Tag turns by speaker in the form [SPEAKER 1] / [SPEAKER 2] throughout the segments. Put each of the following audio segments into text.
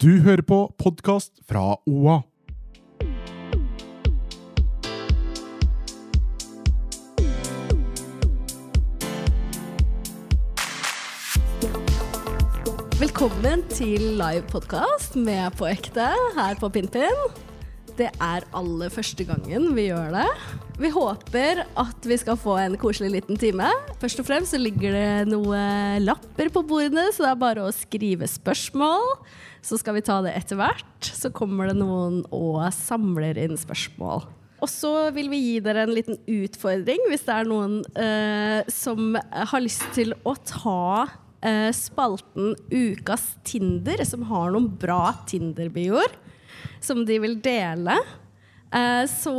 [SPEAKER 1] Du hører på podkast fra OA.
[SPEAKER 2] Velkommen til live podkast med På ekte her på Pinnpinn. Det er aller første gangen vi gjør det. Vi håper at vi skal få en koselig liten time. Først og fremst så ligger det noen lapper på bordene, så det er bare å skrive spørsmål. Så skal vi ta det etter hvert. Så kommer det noen og samler inn spørsmål. Og så vil vi gi dere en liten utfordring hvis det er noen eh, som har lyst til å ta eh, spalten Ukas Tinder, som har noen bra Tinder-bioer som de vil dele. Eh, Så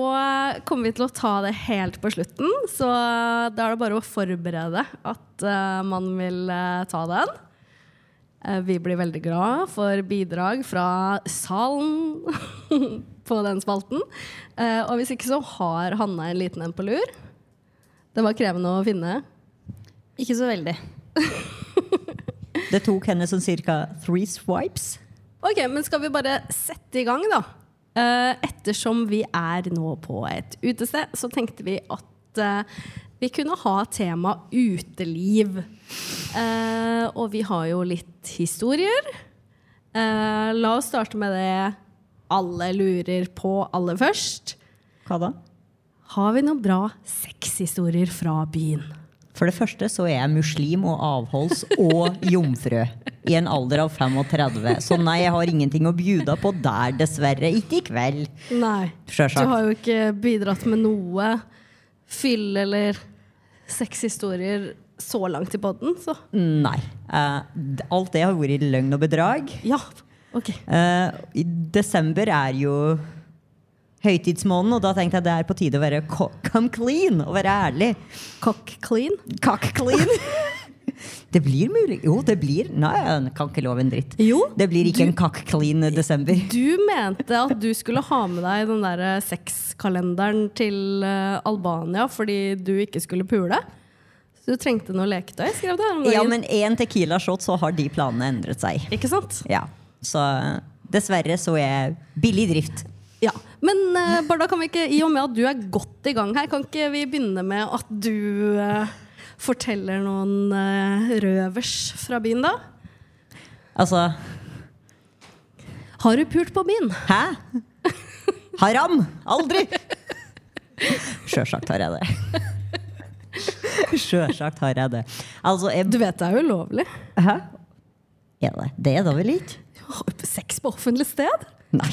[SPEAKER 2] kommer vi til å ta det helt på slutten, så da er det bare å forberede at eh, man vil eh, ta den. Eh, Vi blir veldig glad for bidrag fra salen på den spalten. Eh, Og hvis ikke så har Hanna en liten en på lur. Det var krevende å finne.
[SPEAKER 3] Ikke så veldig. Det tok henne sånn cirka three swipes.
[SPEAKER 2] Ok, men skal vi bare sette i gang, da? Eh, ettersom vi er nå på et utested, så tenkte vi at eh, vi kunne ha tema uteliv. Eh, og vi har jo litt historier. Eh, la oss starte med det alle lurer på aller først.
[SPEAKER 3] Hva da?
[SPEAKER 2] Har vi noen bra sexhistorier fra byen?
[SPEAKER 3] For det første så er jeg muslim og avholds og jomfru. I en alder av 35. Så nei, jeg har ingenting å bjuda på der, dessverre. Ikke i kveld.
[SPEAKER 2] Nei.
[SPEAKER 3] Sjølsagt.
[SPEAKER 2] Du har jo ikke bidratt med noe fyll eller sexhistorier så langt i podden, så
[SPEAKER 3] Nei. Eh, d- alt det har vært løgn og bedrag.
[SPEAKER 2] ja. Ok.
[SPEAKER 3] Eh, i desember er jo høytidsmåneden, og da tenkte jeg det er på tide å være co- come clean og være ærlig.
[SPEAKER 2] Cock clean.
[SPEAKER 3] Cock clean. det blir mulig Jo, det blir Nei, jeg kan ikke love en dritt.
[SPEAKER 2] Jo,
[SPEAKER 3] det blir ikke en cock clean desember.
[SPEAKER 2] Du mente at du skulle ha med deg den der eh, sexkalenderen til eh, Albania fordi du ikke skulle pule. Så du trengte noe leketøy, skrev du her om dagen.
[SPEAKER 3] Ja, men én tequila shot, så har de planene endret seg.
[SPEAKER 2] Ikke sant?
[SPEAKER 3] Ja, Så dessverre så er jeg billig i drift.
[SPEAKER 2] Ja. Men eh, Barda, kan vi ikke, i og med at du er godt i gang her, kan ikke vi begynne med at du eh, forteller noen eh, røvers fra byen, da?
[SPEAKER 3] Altså,
[SPEAKER 2] Har du pult på byen?
[SPEAKER 3] hæ? Haram! Aldri! Sjølsagt har jeg det. Sjølsagt har jeg det. Altså, jeg,
[SPEAKER 2] Du vet det er jo ulovlig.
[SPEAKER 3] Hæ? Er det det da vel ikke?
[SPEAKER 2] Har du Sex på offentlig sted?
[SPEAKER 3] Nei.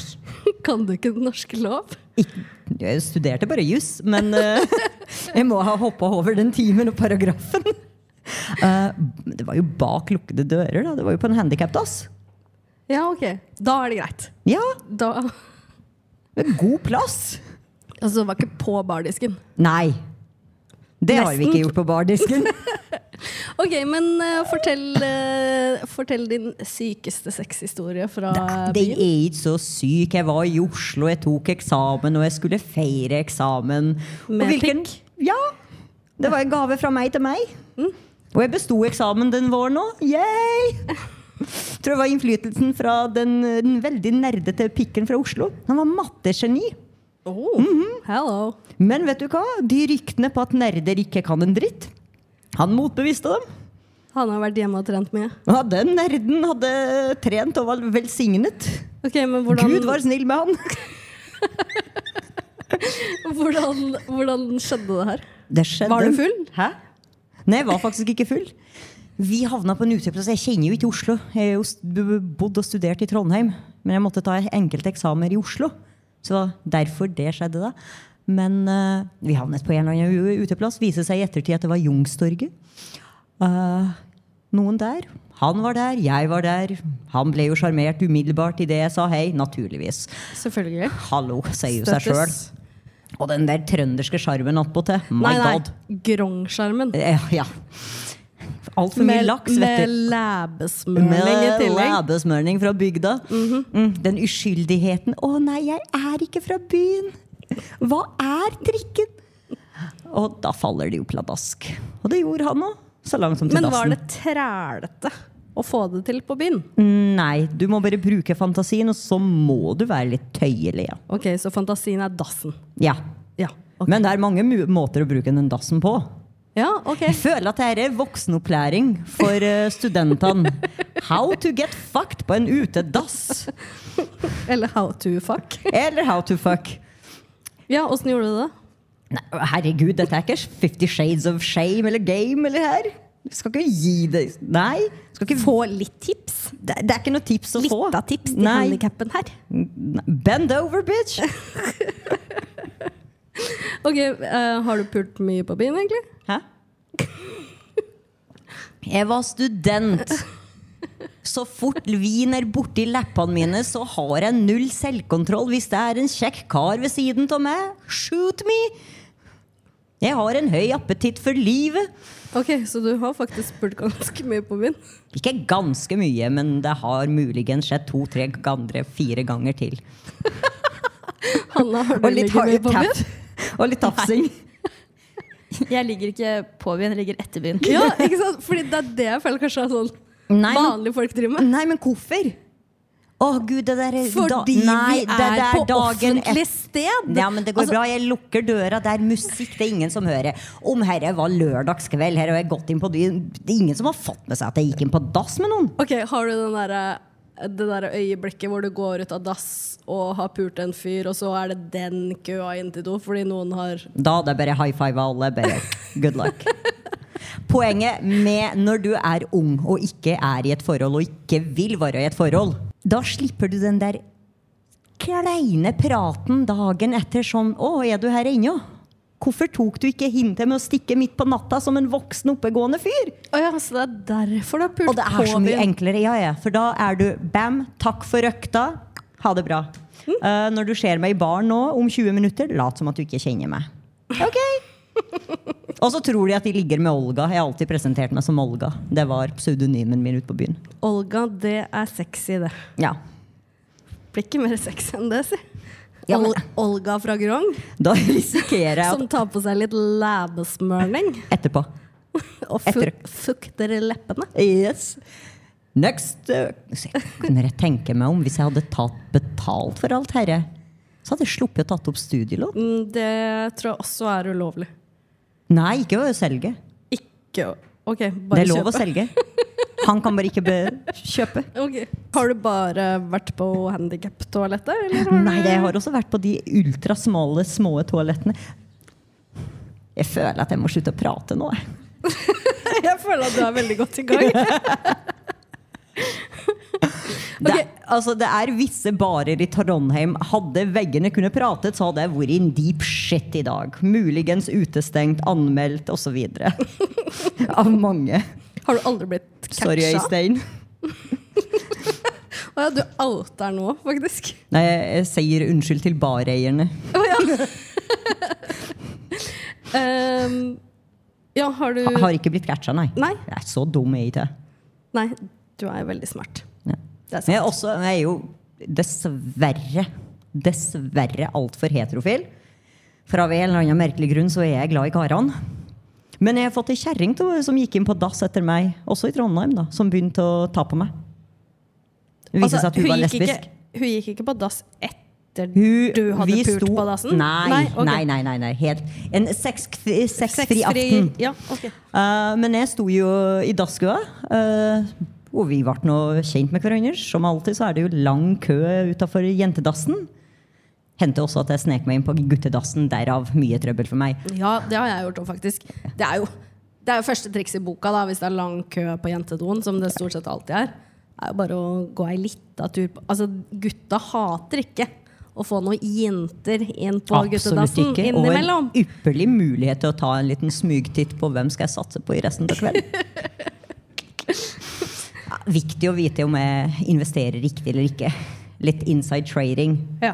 [SPEAKER 2] Kan du ikke den norske lov?
[SPEAKER 3] Ikke, jeg studerte bare juss, men eh, jeg må ha hoppa over den timen og paragrafen. Eh, det var jo bak lukkede dører, da. Det var jo på en handikapdass.
[SPEAKER 2] Ja, ok. Da er det greit.
[SPEAKER 3] Ja,
[SPEAKER 2] Da,
[SPEAKER 3] med god plass.
[SPEAKER 2] altså, det var ikke på bardisken.
[SPEAKER 3] Nei. Det har vi
[SPEAKER 2] Nesten.
[SPEAKER 3] ikke gjort på bardisken.
[SPEAKER 2] Ok, men eh, fortell, eh, fortell din sykeste sexhistorie fra
[SPEAKER 3] Det
[SPEAKER 2] byen.
[SPEAKER 3] er ikke så syk. Jeg var i Oslo, jeg tok eksamen, og jeg skulle feire eksamen.
[SPEAKER 2] Med
[SPEAKER 3] og Ja! Det var en gave fra meg til meg. Og jeg besto eksamen den våren òg. Yay! Tror det var innflytelsen fra den, den veldig nerdete pikken fra Oslo. Han var mattegeni.
[SPEAKER 2] Oh, Hello.
[SPEAKER 3] Men vet du hva? De ryktene på at nerder ikke kan en dritt, han motbeviste dem.
[SPEAKER 2] Han har vært hjemme og trent mye.
[SPEAKER 3] Ja, den nerden hadde trent og var velsignet.
[SPEAKER 2] Ok, men hvordan,
[SPEAKER 3] Gud var snill med han.
[SPEAKER 2] hvordan, hvordan skjedde det her?
[SPEAKER 3] Det skjedde.
[SPEAKER 2] Var du full?
[SPEAKER 3] Hæ? Nei, jeg var faktisk ikke full. Vi havna på en uteplass. Jeg kjenner jo ikke Oslo. Jeg har jo st- b- bodd og studert i Trondheim, men jeg måtte ta enkelte eksamener i Oslo. Så det var derfor det skjedde, da. Men eh, vi havnet på en eller annen u- uteplass. Viste seg i ettertid at det var Youngstorget. Eh, noen der. Han var der, jeg var der. Han ble jo sjarmert umiddelbart idet jeg sa hei. Naturligvis.
[SPEAKER 2] Selvfølgelig.
[SPEAKER 3] Hallo, sier jo seg sjøl.
[SPEAKER 2] Støttes.
[SPEAKER 3] Og den der trønderske sjarmen attpåtil. My
[SPEAKER 2] Nei,
[SPEAKER 3] god.
[SPEAKER 2] nei. Grong-skjermen.
[SPEAKER 3] Eh, Ja. Altfor mye laks, vet
[SPEAKER 2] med
[SPEAKER 3] du.
[SPEAKER 2] læbesmøring i tillegg.
[SPEAKER 3] læbesmørning fra bygda. Mm, den uskyldigheten. 'Å nei, jeg er ikke fra byen'. Hva er trikken? Og da faller det jo pladask. Og det gjorde han òg. Så langt som til
[SPEAKER 2] Men var
[SPEAKER 3] dassen.
[SPEAKER 2] det trælete å få det til på byen?
[SPEAKER 3] Nei, du må bare bruke fantasien, og så må du være litt tøyelig. Ja.
[SPEAKER 2] Ok, Så fantasien er dassen.
[SPEAKER 3] Ja.
[SPEAKER 2] Ja, ok.
[SPEAKER 3] Men det er mange mu- måter å bruke den dassen på.
[SPEAKER 2] Ja, ok.
[SPEAKER 3] Jeg føler at dette er voksenopplæring for eh, studentene. How to get fucked på en utedass.
[SPEAKER 2] Eller how to fuck.
[SPEAKER 3] Eller how to fuck.
[SPEAKER 2] Ja, åssen gjorde du det?
[SPEAKER 3] Nei, herregud, dette er ikke Fifty Shades of Shame eller Game eller her. Du skal ikke gi det Nei. du Skal ikke få litt tips. Det, det er ikke noe tips å få.
[SPEAKER 2] Litt av tips til
[SPEAKER 3] Nei.
[SPEAKER 2] handikappen her.
[SPEAKER 3] Nei. Bend over, bitch!
[SPEAKER 2] Ok, eh, Har du pult mye på byen, egentlig?
[SPEAKER 3] Hæ? Jeg var student. Så fort vin er borti leppene mine, så har jeg null selvkontroll hvis det er en kjekk kar ved siden av meg. Shoot me! Jeg har en høy appetitt for livet.
[SPEAKER 2] Ok, Så du har faktisk pult ganske mye på byen?
[SPEAKER 3] Ikke ganske mye, men det har muligens skjedd to-tre ganger, fire ganger til.
[SPEAKER 2] Hanna, har du
[SPEAKER 3] Og litt
[SPEAKER 2] ligget mye på
[SPEAKER 3] hard
[SPEAKER 2] byen?
[SPEAKER 3] tap. Og litt tafsing.
[SPEAKER 4] Jeg ligger ikke på byen, jeg ligger etter byen.
[SPEAKER 2] Ja, ikke sant? Fordi det er det jeg føler kanskje er sånn
[SPEAKER 3] Nei, men,
[SPEAKER 2] vanlige folk driver med.
[SPEAKER 3] nei, men hvorfor? Å gud, det der er da-
[SPEAKER 2] Fordi
[SPEAKER 3] nei,
[SPEAKER 2] vi
[SPEAKER 3] det
[SPEAKER 2] er
[SPEAKER 3] der
[SPEAKER 2] på
[SPEAKER 3] dagen
[SPEAKER 2] offentlig
[SPEAKER 3] et-
[SPEAKER 2] sted.
[SPEAKER 3] Ja, men det
[SPEAKER 2] Altså-
[SPEAKER 3] går bra. Jeg lukker døra. Det er musikk, det er ingen som hører. Om herre var lørdagskveld, her har jeg gått inn på byen. Det er ingen som har fått med seg at jeg gikk inn på dass med noen.
[SPEAKER 2] Ok, Har du den der, eh, det der øyeblikket hvor du går ut av dass og har pult en fyr, og så er det den køa inn til do fordi noen har
[SPEAKER 3] Da hadde jeg bare high five alle. Bare good luck. Poenget med når du er ung og ikke er i et forhold og ikke vil være i et forhold, da slipper du den der kleine praten dagen etter sånn Å, er du her ennå? Hvorfor tok du ikke hintet med å stikke midt på natta som en voksen, oppegående fyr?
[SPEAKER 2] Å ja, så det er derfor du har pult
[SPEAKER 3] Og det er så
[SPEAKER 2] på
[SPEAKER 3] mye
[SPEAKER 2] byen?
[SPEAKER 3] enklere. Ja, ja. For da er du bam, takk for røkta, ha det bra. Eh, når du ser meg i baren nå om 20 minutter, lat som at du ikke kjenner meg. Ok Og så tror de at de ligger med Olga. Jeg har alltid presentert meg som Olga. Det var pseudonymen min ute på byen.
[SPEAKER 2] Olga, det er sexy, det.
[SPEAKER 3] Ja.
[SPEAKER 2] Blir ikke mer sexy enn det, si.
[SPEAKER 3] Ja, men-
[SPEAKER 2] Ol Olga fra Grong
[SPEAKER 3] Da risikerer jeg
[SPEAKER 2] som tar på seg litt læbesmørning
[SPEAKER 3] at etterpå.
[SPEAKER 2] og
[SPEAKER 3] Etter-
[SPEAKER 2] fuk fukter leppene.
[SPEAKER 3] Yes. Next. eh, så jeg Kunne jeg tenke meg om hvis jeg hadde tatt betalt for alt herre? Så hadde jeg sluppet å tatt opp studielån.
[SPEAKER 2] Mm, Det tror jeg også er ulovlig.
[SPEAKER 3] Nei, ikke å selge.
[SPEAKER 2] Ikke å Ok,
[SPEAKER 3] Det
[SPEAKER 2] bare
[SPEAKER 3] er lov å
[SPEAKER 2] kjøpe.
[SPEAKER 3] selge. Han kan bare ikke be kjøpe.
[SPEAKER 2] Ok. Har du bare vært på handikap-toalettet, eller?
[SPEAKER 3] Nei, det har også vært på de ultrasmale, små toalettene. Jeg føler at jeg må slutte å prate nå. jeg.
[SPEAKER 2] Jeg føler at du er veldig godt i gang.
[SPEAKER 3] Det, altså, det er visse barer i Trondheim. Hadde veggene kunne pratet, så hadde jeg vært in deep shit i dag. Muligens utestengt, anmeldt osv. Av mange.
[SPEAKER 2] Har du aldri blitt catcha?
[SPEAKER 3] Sorry, Øystein.
[SPEAKER 2] Å ja, du outer nå, faktisk.
[SPEAKER 3] Nei, jeg, jeg sier unnskyld til bareierne.
[SPEAKER 2] Ehm, ja, har du
[SPEAKER 3] Har ikke blitt catcha, nei.
[SPEAKER 2] Nei.
[SPEAKER 3] Jeg er så dum, jeg ikke.
[SPEAKER 2] Nei, du er veldig smart. Det er
[SPEAKER 3] Men jeg
[SPEAKER 2] sant.
[SPEAKER 3] er, også, jeg er jo dessverre Dessverre altfor heterofil. For av en eller annen merkelig grunn så er jeg glad i karene. Men jeg har fått ei kjerring til- som gikk inn på dass etter meg, også i Trondheim, da, som begynte å ta på meg. Det viste
[SPEAKER 2] Altså,
[SPEAKER 3] seg at hun, var
[SPEAKER 2] gikk
[SPEAKER 3] lesbisk.
[SPEAKER 2] Ikke, hun gikk ikke på dass etter
[SPEAKER 3] Hun-
[SPEAKER 2] du hadde
[SPEAKER 3] vi
[SPEAKER 2] pult
[SPEAKER 3] sto-
[SPEAKER 2] på dassen?
[SPEAKER 3] Nei, nei,
[SPEAKER 2] ok.
[SPEAKER 3] nei. nei, nei, Helt. En sexfri, sexfri
[SPEAKER 2] Sexfri-
[SPEAKER 3] aften.
[SPEAKER 2] Ja, ok.
[SPEAKER 3] Eh, men jeg sto jo i dasskøa, eh, og vi ble nå kjent med hverandre. Som alltid så er det jo lang kø utafor jentedassen. Hendte også at jeg snek meg inn på guttedassen, derav mye trøbbel for meg.
[SPEAKER 2] Ja, det har jeg gjort òg, faktisk. Det er jo det er jo første triks i boka, da, hvis det er lang kø på jentedoen, som det stort sett alltid er. Det er jo bare å gå ei lita tur på Altså, gutta hater ikke å få noen jenter inn på guttedassen
[SPEAKER 3] Og en
[SPEAKER 2] innimellom.
[SPEAKER 3] ypperlig mulighet til å ta en liten smygtitt på hvem skal jeg satse på i resten av kvelden. viktig å vite om jeg investerer riktig eller ikke. Litt inside trading.
[SPEAKER 2] Ja.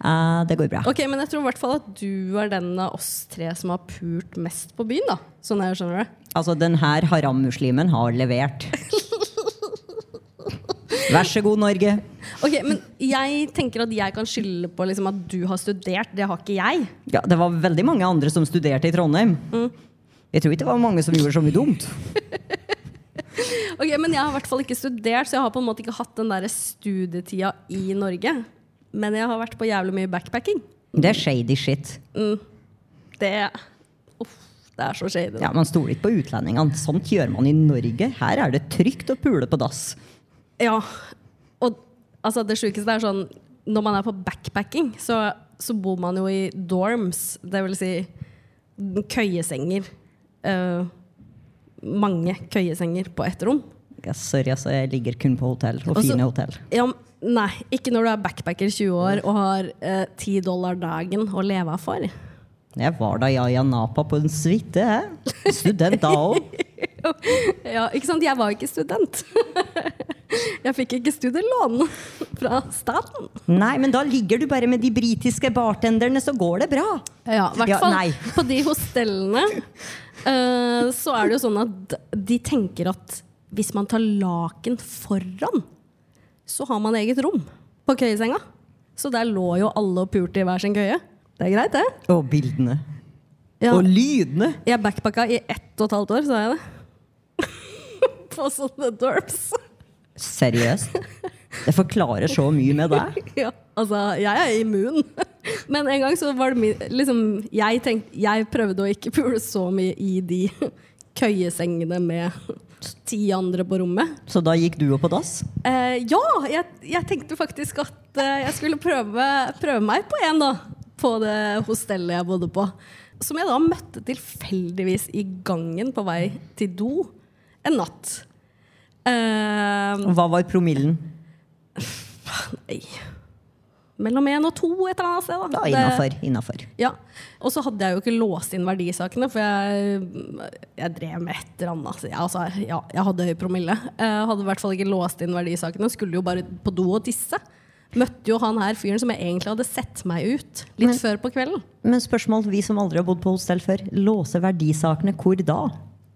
[SPEAKER 3] Eh, det går bra.
[SPEAKER 2] Ok, Men jeg tror i hvert fall at du er den av oss tre som har pult mest på byen. da Sånn jeg skjønner det
[SPEAKER 3] Altså, den her haram-muslimen har levert. Vær så god, Norge.
[SPEAKER 2] Ok, Men jeg tenker at jeg kan skylde på liksom at du har studert. Det har ikke jeg.
[SPEAKER 3] Ja, det var veldig mange andre som studerte i Trondheim. Jeg tror ikke det var mange som gjorde så mye dumt.
[SPEAKER 2] Ok, Men jeg har i hvert fall ikke studert, så jeg har på en måte ikke hatt den der studietida i Norge. Men jeg har vært på jævlig mye backpacking.
[SPEAKER 3] Det er shady shit.
[SPEAKER 2] Det, uff, det er så shady. da.
[SPEAKER 3] Ja, Man stoler ikke på utlendingene. Sånt gjør man i Norge. Her er det trygt å pule på dass.
[SPEAKER 2] Ja. Og altså, det sjukeste er sånn Når man er på backpacking, så, så bor man jo i dorms. Det vil si køyesenger. Eh, mange køyesenger på ett rom.
[SPEAKER 3] Ja, sorry, altså, jeg ligger kun på hotell. Og
[SPEAKER 2] Og så-
[SPEAKER 3] fine hotell.
[SPEAKER 2] Ja, m- nei, ikke når du er backpacker 20 år og har eh, ti dollar dagen å leve av for.
[SPEAKER 3] Jeg var da i Ayia Napa på en suite. hæ? Student da òg.
[SPEAKER 2] Ja, ikke sant? Jeg var jo ikke student. Jeg fikk ikke studielån fra staten.
[SPEAKER 3] Nei, men da ligger du bare med de britiske bartenderne, så går det bra.
[SPEAKER 2] Ja, i hvert
[SPEAKER 3] Ja,
[SPEAKER 2] fall
[SPEAKER 3] nei.
[SPEAKER 2] på de hostellene eh, så er det jo sånn at de tenker at hvis man tar laken foran, så har man eget rom på køyesenga. Så der lå jo alle og pulte i hver sin køye. Det er greit, det.
[SPEAKER 3] Og bildene.
[SPEAKER 2] Ja.
[SPEAKER 3] Og lydene.
[SPEAKER 2] Jeg backpacka i ett og et halvt år, sa jeg det. på sånne dorps.
[SPEAKER 3] Seriøst. Det forklarer så mye med deg.
[SPEAKER 2] ja, altså, jeg er immun. Men en gang så var det min liksom, jeg, tenkte, jeg prøvde å ikke pule så mye i de køyesengene med ti andre på rommet.
[SPEAKER 3] Så da gikk du opp på dass?
[SPEAKER 2] Eh, ja, jeg, jeg tenkte faktisk at eh, jeg skulle prøve, prøve meg på en, da. På det hostellet jeg bodde på. Som jeg da møtte tilfeldigvis i gangen på vei til do en natt. Eh,
[SPEAKER 3] Hva var promillen?
[SPEAKER 2] nei Mellom én og to et eller annet sted.
[SPEAKER 3] Da
[SPEAKER 2] Det-
[SPEAKER 3] innafor. Innafor.
[SPEAKER 2] Ja. Og så hadde jeg jo ikke låst inn verdisakene, for jeg, jeg drev med et eller annet. Så jeg, altså, ja, jeg hadde høy promille. Jeg hadde i hvert fall ikke låst inn verdisakene. Skulle jo bare på do og tisse. Møtte jo han her fyren som jeg egentlig hadde sett meg ut litt før på kvelden.
[SPEAKER 3] Men spørsmål, vi som aldri har bodd på hostell før. Låser verdisakene hvor da?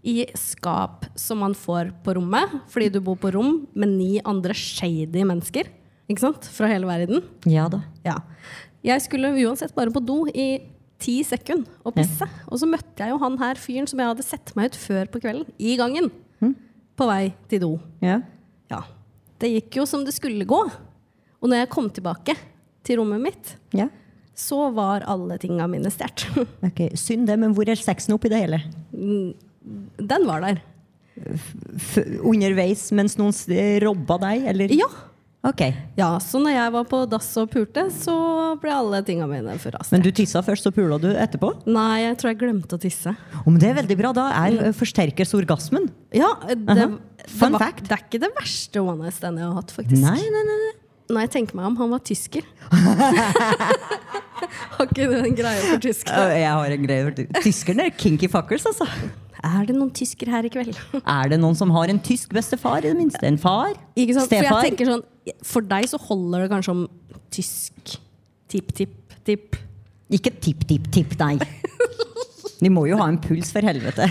[SPEAKER 2] I skap som man får på rommet, fordi du bor på rom med ni andre shady mennesker. Ikke sant? Fra hele verden.
[SPEAKER 3] Ja da.
[SPEAKER 2] Ja. Jeg skulle uansett bare på do i ti sekunder og pisse. Og så møtte jeg jo han her fyren som jeg hadde sett meg ut før på kvelden, i gangen. På vei til do.
[SPEAKER 3] Ja.
[SPEAKER 2] Ja. Det gikk jo som det skulle gå. Og når jeg kom tilbake til rommet mitt,
[SPEAKER 3] ja.
[SPEAKER 2] så var alle tinga mine stjålet.
[SPEAKER 3] Ok, Synd det, men hvor er sexen oppi det hele?
[SPEAKER 2] Den var der.
[SPEAKER 3] F underveis mens noen s- robba deg, eller?
[SPEAKER 2] Ja.
[SPEAKER 3] Ok.
[SPEAKER 2] ja. Så når jeg var på dass og pulte, så ble alle tinga mine forrast.
[SPEAKER 3] Men du tissa først, så pula du etterpå?
[SPEAKER 2] Nei, jeg tror jeg glemte å tisse.
[SPEAKER 3] Å, men det er veldig bra. Da er forsterkes orgasmen.
[SPEAKER 2] Ja, det,
[SPEAKER 3] Aha. Fun
[SPEAKER 2] det, var,
[SPEAKER 3] fact.
[SPEAKER 2] det er ikke det verste one night standet jeg har hatt, faktisk.
[SPEAKER 3] Nei, nei, nei. nei.
[SPEAKER 2] Når jeg tenker meg om, han var tysker. Har ikke du en greie for
[SPEAKER 3] Å,
[SPEAKER 2] tyskere?
[SPEAKER 3] Eh, Jeg har en greie. Tyskerne er kinky fuckers, altså.
[SPEAKER 2] Er det noen tysker her i kveld?
[SPEAKER 3] Er det noen som har en tysk bestefar, i det minste? En far?
[SPEAKER 2] Ikke sant? For jeg
[SPEAKER 3] Stefar?
[SPEAKER 2] tenker sånn For deg så holder det kanskje om tysk tipp-tipp-tipp.
[SPEAKER 3] Ikke tipp-tipp-tipp, nei. De må jo ha en puls, for helvete.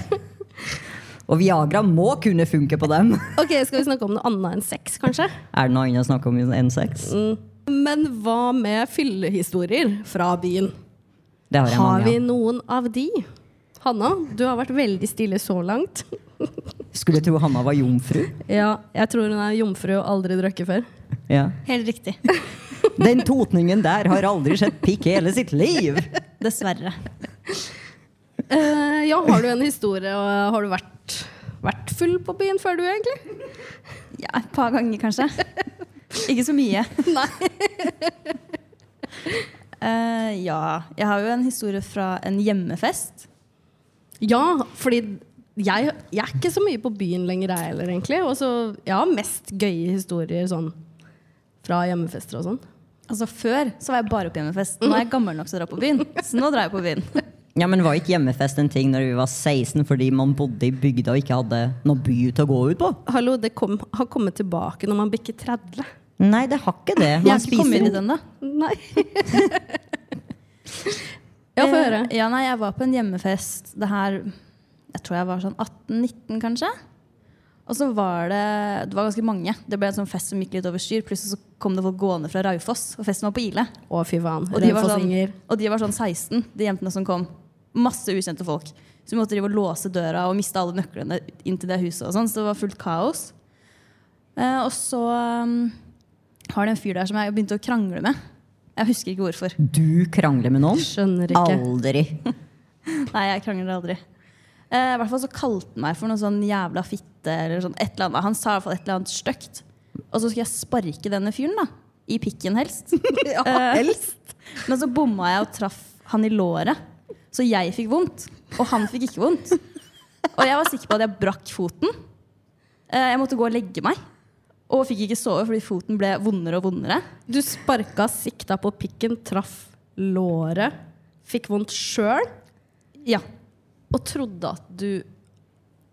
[SPEAKER 3] Og Viagra må kunne funke på dem.
[SPEAKER 2] Ok, Skal vi snakke om noe annet enn sex, kanskje?
[SPEAKER 3] Er det noe annet å snakke om enn sex?
[SPEAKER 2] Men hva med fyllehistorier fra byen?
[SPEAKER 3] Det har jeg
[SPEAKER 2] Har
[SPEAKER 3] mange
[SPEAKER 2] vi
[SPEAKER 3] av.
[SPEAKER 2] noen av de? Hanna, du har vært veldig stille så langt.
[SPEAKER 3] Skulle tro Hanna var jomfru.
[SPEAKER 2] Ja, jeg tror hun er jomfru og aldri drukket før.
[SPEAKER 3] Ja.
[SPEAKER 4] Helt riktig.
[SPEAKER 3] Den totningen der har aldri sett pikk i hele sitt liv!
[SPEAKER 4] Dessverre.
[SPEAKER 2] Eh, ja, har du en historie, og har du vært, vært full på byen før du, egentlig?
[SPEAKER 4] Ja, Et par ganger, kanskje. Ikke så mye.
[SPEAKER 2] Nei.
[SPEAKER 4] Eh, ja. Jeg har jo en historie fra en hjemmefest.
[SPEAKER 2] Ja, fordi jeg, jeg er ikke så mye på byen lenger, jeg heller, egentlig. Og så jeg har mest gøye historier sånn fra hjemmefester og sånn.
[SPEAKER 4] Altså Før så var jeg bare på hjemmefest. Nå er jeg gammel nok til å dra på byen. Så nå drar jeg på byen.
[SPEAKER 3] Ja, men Var ikke hjemmefest en ting når vi var 16 fordi man bodde i bygda og ikke hadde noen by til å gå ut på?
[SPEAKER 2] Hallo, det kom, har kommet tilbake når man bikker 30.
[SPEAKER 3] Nei, det har ikke det.
[SPEAKER 4] Jeg har ikke kommet inn i den da
[SPEAKER 2] Nei. ja, få høre.
[SPEAKER 4] Eh, Ja, nei, jeg var på en hjemmefest. Det her Jeg tror jeg var sånn 18-19, kanskje. Og så var det Det var ganske mange. Det ble en sånn fest som gikk litt over styr. Plutselig så kom det folk gående fra Raufoss, og festen var på Ile.
[SPEAKER 2] Å, fy faen.
[SPEAKER 4] Og de, var sånn,
[SPEAKER 2] Raufossinger.
[SPEAKER 4] og de var sånn 16, de jentene som kom. Masse ukjente folk. Så vi måtte drive og låse døra og miste alle nøklene inn til det huset. og sånn, Så det var fullt kaos. Eh, og så um, har det en fyr der som jeg begynte å krangle med. Jeg husker ikke hvorfor.
[SPEAKER 3] Du krangler med noen?
[SPEAKER 2] Skjønner ikke.
[SPEAKER 3] Aldri.
[SPEAKER 4] Nei, jeg krangler aldri. Eh, I hvert fall så kalte han meg for noe sånn jævla fitte eller sånn et eller annet. Han sa i hvert fall et eller annet stygt. Og så skulle jeg sparke denne fyren, da. I pikken helst. Eh, Men så bomma jeg og traff han i låret. Så jeg fikk vondt, og han fikk ikke vondt. Og jeg var sikker på at jeg brakk foten. Eh, Jeg måtte gå og legge meg. Og fikk ikke sove fordi foten ble vondere og vondere.
[SPEAKER 2] Du sparka, sikta på pikken, traff låret, fikk vondt sjøl
[SPEAKER 4] Ja,
[SPEAKER 2] og trodde at du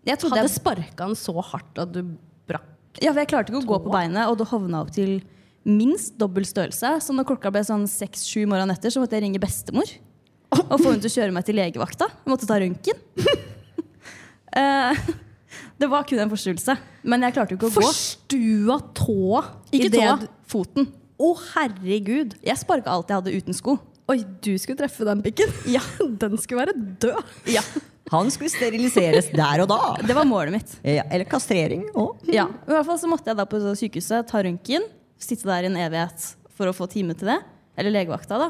[SPEAKER 4] jeg trodde
[SPEAKER 2] hadde
[SPEAKER 4] jeg
[SPEAKER 2] sparka den så hardt at du brakk
[SPEAKER 4] Ja, for jeg klarte ikke å gå på
[SPEAKER 2] Tåa?
[SPEAKER 4] beinet, og det hovna opp til minst dobbel størrelse. Så når klokka ble sånn seks-sju morgenen etter, så måtte jeg ringe bestemor. Og få henne til å kjøre meg til legevakta. Jeg måtte ta røntgen. Eh, det var kun en forstuelse. Men jeg klarte jo ikke å
[SPEAKER 2] Forstua tåa.
[SPEAKER 4] gå.
[SPEAKER 2] i
[SPEAKER 4] Ikke
[SPEAKER 2] det
[SPEAKER 4] tåa,
[SPEAKER 2] du-
[SPEAKER 4] foten.
[SPEAKER 2] Å, herregud.
[SPEAKER 4] Jeg sparka alt jeg hadde uten sko.
[SPEAKER 2] Oi, du skulle treffe den pikken? Ja, Den skulle være død.
[SPEAKER 4] Ja,
[SPEAKER 3] Han skulle steriliseres der og da. Eh,
[SPEAKER 4] Det var målet mitt.
[SPEAKER 3] Ja, eller kastrering òg.
[SPEAKER 4] Ja, i hvert fall så måtte jeg da på sykehuset ta røntgen, sitte der i en evighet for å få time til det. Eller legevakta, da.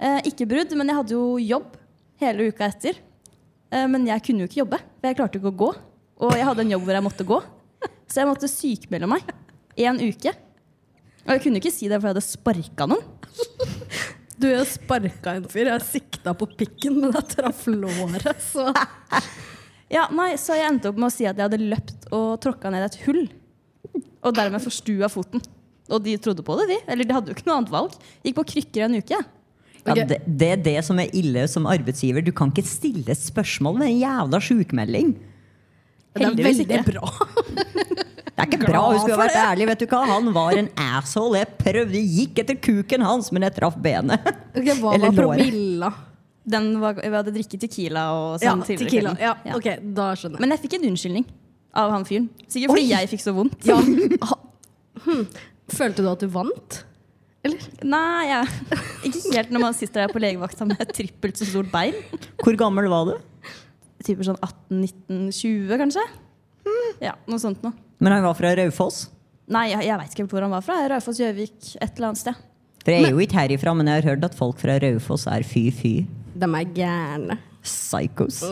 [SPEAKER 4] Eh, ikke brudd, men jeg hadde jo jobb hele uka etter. Eh, men jeg kunne jo ikke jobbe, for jeg klarte jo ikke å gå. Og jeg hadde en jobb hvor jeg måtte gå. Så jeg måtte sykmelde meg én uke. Og jeg kunne jo ikke si det, for jeg hadde sparka noen.
[SPEAKER 2] Du, jeg sparka en fyr. Jeg sikta på pikken, men jeg traff låret. Så
[SPEAKER 4] Ja, nei, Så jeg endte opp med å si at jeg hadde løpt og tråkka ned et hull. Og dermed forstua foten. Og de trodde på det, de. Eller de hadde jo ikke noe annet valg. Gikk på krykker en uke. jeg.
[SPEAKER 3] Ja,
[SPEAKER 2] Ok.
[SPEAKER 3] det, det er det som er ille som arbeidsgiver. Du kan ikke stille et spørsmål med en jævla sjukmelding.
[SPEAKER 2] det er
[SPEAKER 3] Heldigvis
[SPEAKER 2] veldig
[SPEAKER 3] ikke.
[SPEAKER 2] bra.
[SPEAKER 3] Det er ikke bra. Hun skulle vært ærlig. vet du hva? Han var en asshole. Jeg prøvde, gikk etter kuken hans, men jeg traff benet.
[SPEAKER 2] Ok, hva
[SPEAKER 3] Eller
[SPEAKER 2] var
[SPEAKER 3] låret.
[SPEAKER 2] promilla?
[SPEAKER 4] Den var, vi hadde drikket tequila og sånn tidligere.
[SPEAKER 2] tequila.
[SPEAKER 4] kvelden.
[SPEAKER 2] Ja,
[SPEAKER 4] Ja.
[SPEAKER 2] ok, da skjønner jeg.
[SPEAKER 4] Men jeg fikk en unnskyldning av han fyren. Sikkert fordi jeg fikk så vondt.
[SPEAKER 2] hmm. Følte du at du vant?
[SPEAKER 4] Nei, jeg, ikke helt når man sitter der på legevakta med trippelt så stort bein.
[SPEAKER 3] Hvor gammel var du?
[SPEAKER 4] Typer sånn 18-19-20, kanskje.
[SPEAKER 2] Hmm.
[SPEAKER 4] Ja, noe sånt noe.
[SPEAKER 3] Men han var fra Raufoss.
[SPEAKER 4] Nei, jeg, jeg veit ikke helt hvor han var fra. Raufoss, Gjøvik, et eller annet sted.
[SPEAKER 3] For jeg er jo ikke herifra, men jeg har hørt at folk fra Raufoss er fy-fy.
[SPEAKER 2] De er gærne.
[SPEAKER 3] Psychos.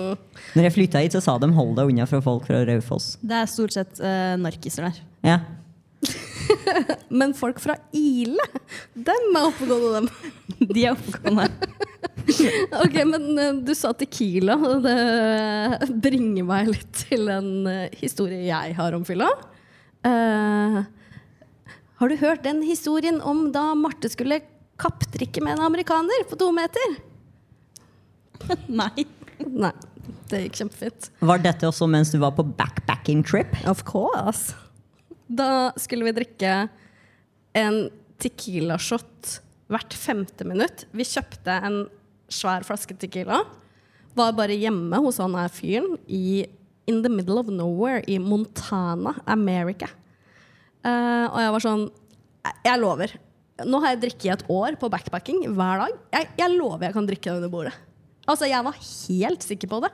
[SPEAKER 3] Når jeg flytta hit, så sa de 'hold deg unna fra folk fra Raufoss'.
[SPEAKER 4] Det er stort sett eh, narkiser der.
[SPEAKER 3] Ja.
[SPEAKER 2] Men folk fra Ile, dem er oppegående, dem.
[SPEAKER 4] De er oppegående.
[SPEAKER 2] Ok, men eh, du sa tequila, og det bringer meg litt til en eh, historie jeg har om fylla. Eh, har du hørt den historien om da Marte skulle kappdrikke med en amerikaner på to meter?
[SPEAKER 4] Nei.
[SPEAKER 2] Nei, det gikk kjempefint.
[SPEAKER 3] Var dette også mens du var på backpacking trip?
[SPEAKER 2] Of course. Da skulle vi drikke en tequila-shot hvert femte minutt. Vi kjøpte en svær flaske tequila. Var bare hjemme hos han her fyren i in the middle of nowhere i Montana, America. Eh, og jeg var sånn "Jeg- Jeg lover. Nå har jeg drikket i et år på backpacking hver dag. Jeg, jeg lover jeg kan drikke det under bordet. Altså, jeg var helt sikker på det.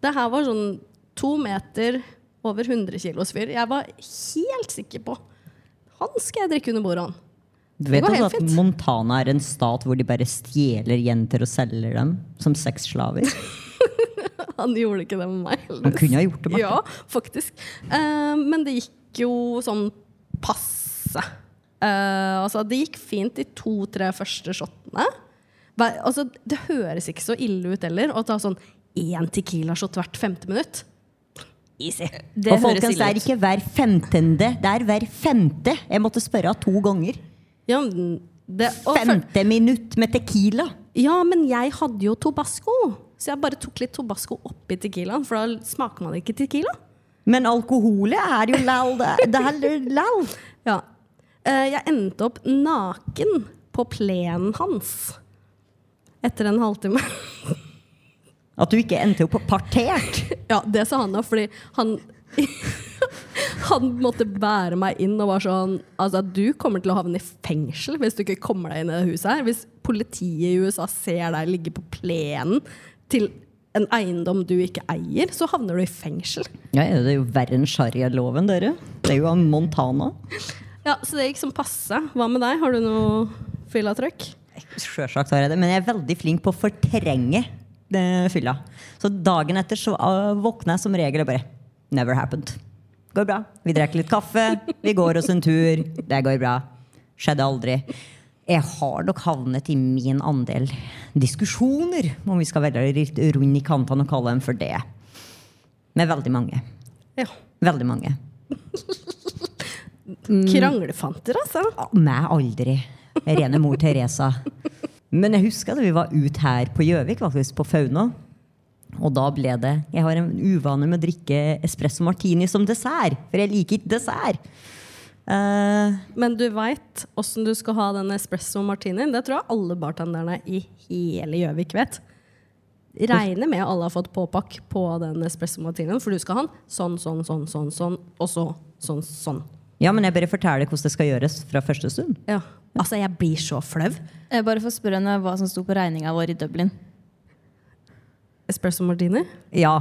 [SPEAKER 2] Det her var sånn to meter over 100 kilos fyr. Jeg var helt sikker på han skal jeg drikke under bordet. han.
[SPEAKER 3] Du vet
[SPEAKER 2] Det går
[SPEAKER 3] også
[SPEAKER 2] helt
[SPEAKER 3] at
[SPEAKER 2] fint.
[SPEAKER 3] Montana er en stat hvor de bare stjeler jenter og selger dem som sexslaver?
[SPEAKER 2] Han gjorde ikke det med meg. heldigvis.
[SPEAKER 3] Han kunne ha gjort det, Marte.
[SPEAKER 2] Ja, faktisk. Eh, men det gikk jo sånn passe. Eh, altså, det gikk fint de to-tre første shotene. Hver- Altså, det høres ikke så ille ut heller å ta sånn én tequila-shot hvert femte minutt. Easy.
[SPEAKER 3] og folkens, det er ikke hver femtende, det er hver femte. Jeg måtte spørre to ganger.
[SPEAKER 2] Ja, men
[SPEAKER 4] Det, og for,
[SPEAKER 3] Femte minutt med tequila.
[SPEAKER 2] Ja, men jeg hadde jo tobasco. Så jeg bare tok litt tobasco oppi tequilaen, for da smaker man ikke tequila.
[SPEAKER 3] Men alkoholet er jo lal. Det det er lal.
[SPEAKER 2] Ja. Eh, Jeg endte opp naken på plenen hans etter en halvtime.
[SPEAKER 3] At du ikke endte opp partert.
[SPEAKER 2] Ja, det sa han da, fordi han Han måtte bære meg inn og var sånn Altså, du kommer til å havne i fengsel hvis du ikke kommer deg inn i det huset her. Hvis politiet i USA ser deg ligge på plenen til en eiendom du ikke eier, så havner du i fengsel.
[SPEAKER 3] Ja, det er jo verre enn sharialoven, dere. Det er jo av Montana.
[SPEAKER 2] Ja, Så det gikk som passe. Hva med deg? Har du noe fylletrykk?
[SPEAKER 3] Sjølsagt har jeg det, men jeg er veldig flink på å fortrenge eh, fylla. Så dagen etter så eh, våkner jeg som regel og bare Never happened. Går bra. Vi drikker litt kaffe, vi går oss en tur. Det går bra. Skjedde aldri. Jeg har nok havnet i min andel diskusjoner, om vi skal være litt runde i kantene og kalle dem for det. Med veldig mange.
[SPEAKER 2] Ja.
[SPEAKER 3] Veldig mange.
[SPEAKER 2] Kranglefanter, altså.
[SPEAKER 3] Meg aldri. Rene mor Teresa. Men jeg husker at vi var ut her på Gjøvik, faktisk, på Fauna. Og da ble det Jeg har en uvane med å drikke espresso martini som dessert, for jeg liker ikke dessert. Eh,
[SPEAKER 2] Men du veit åssen du skal ha den espresso martinien. Det tror jeg alle bartenderne i hele Gjøvik vet. Regner med alle har fått påpakk på den espresso martinien, for du skal ha den sånn, sånn, sånn, sånn, sånn og så sånn, sånn.
[SPEAKER 3] ja, men jeg bare forteller hvordan det skal gjøres fra første stund.
[SPEAKER 2] Ja. Altså, jeg blir så flau.
[SPEAKER 4] jeg bare får spørre henne hva som sto på regninga vår i Dublin.
[SPEAKER 2] Espresso martini?
[SPEAKER 3] Ja,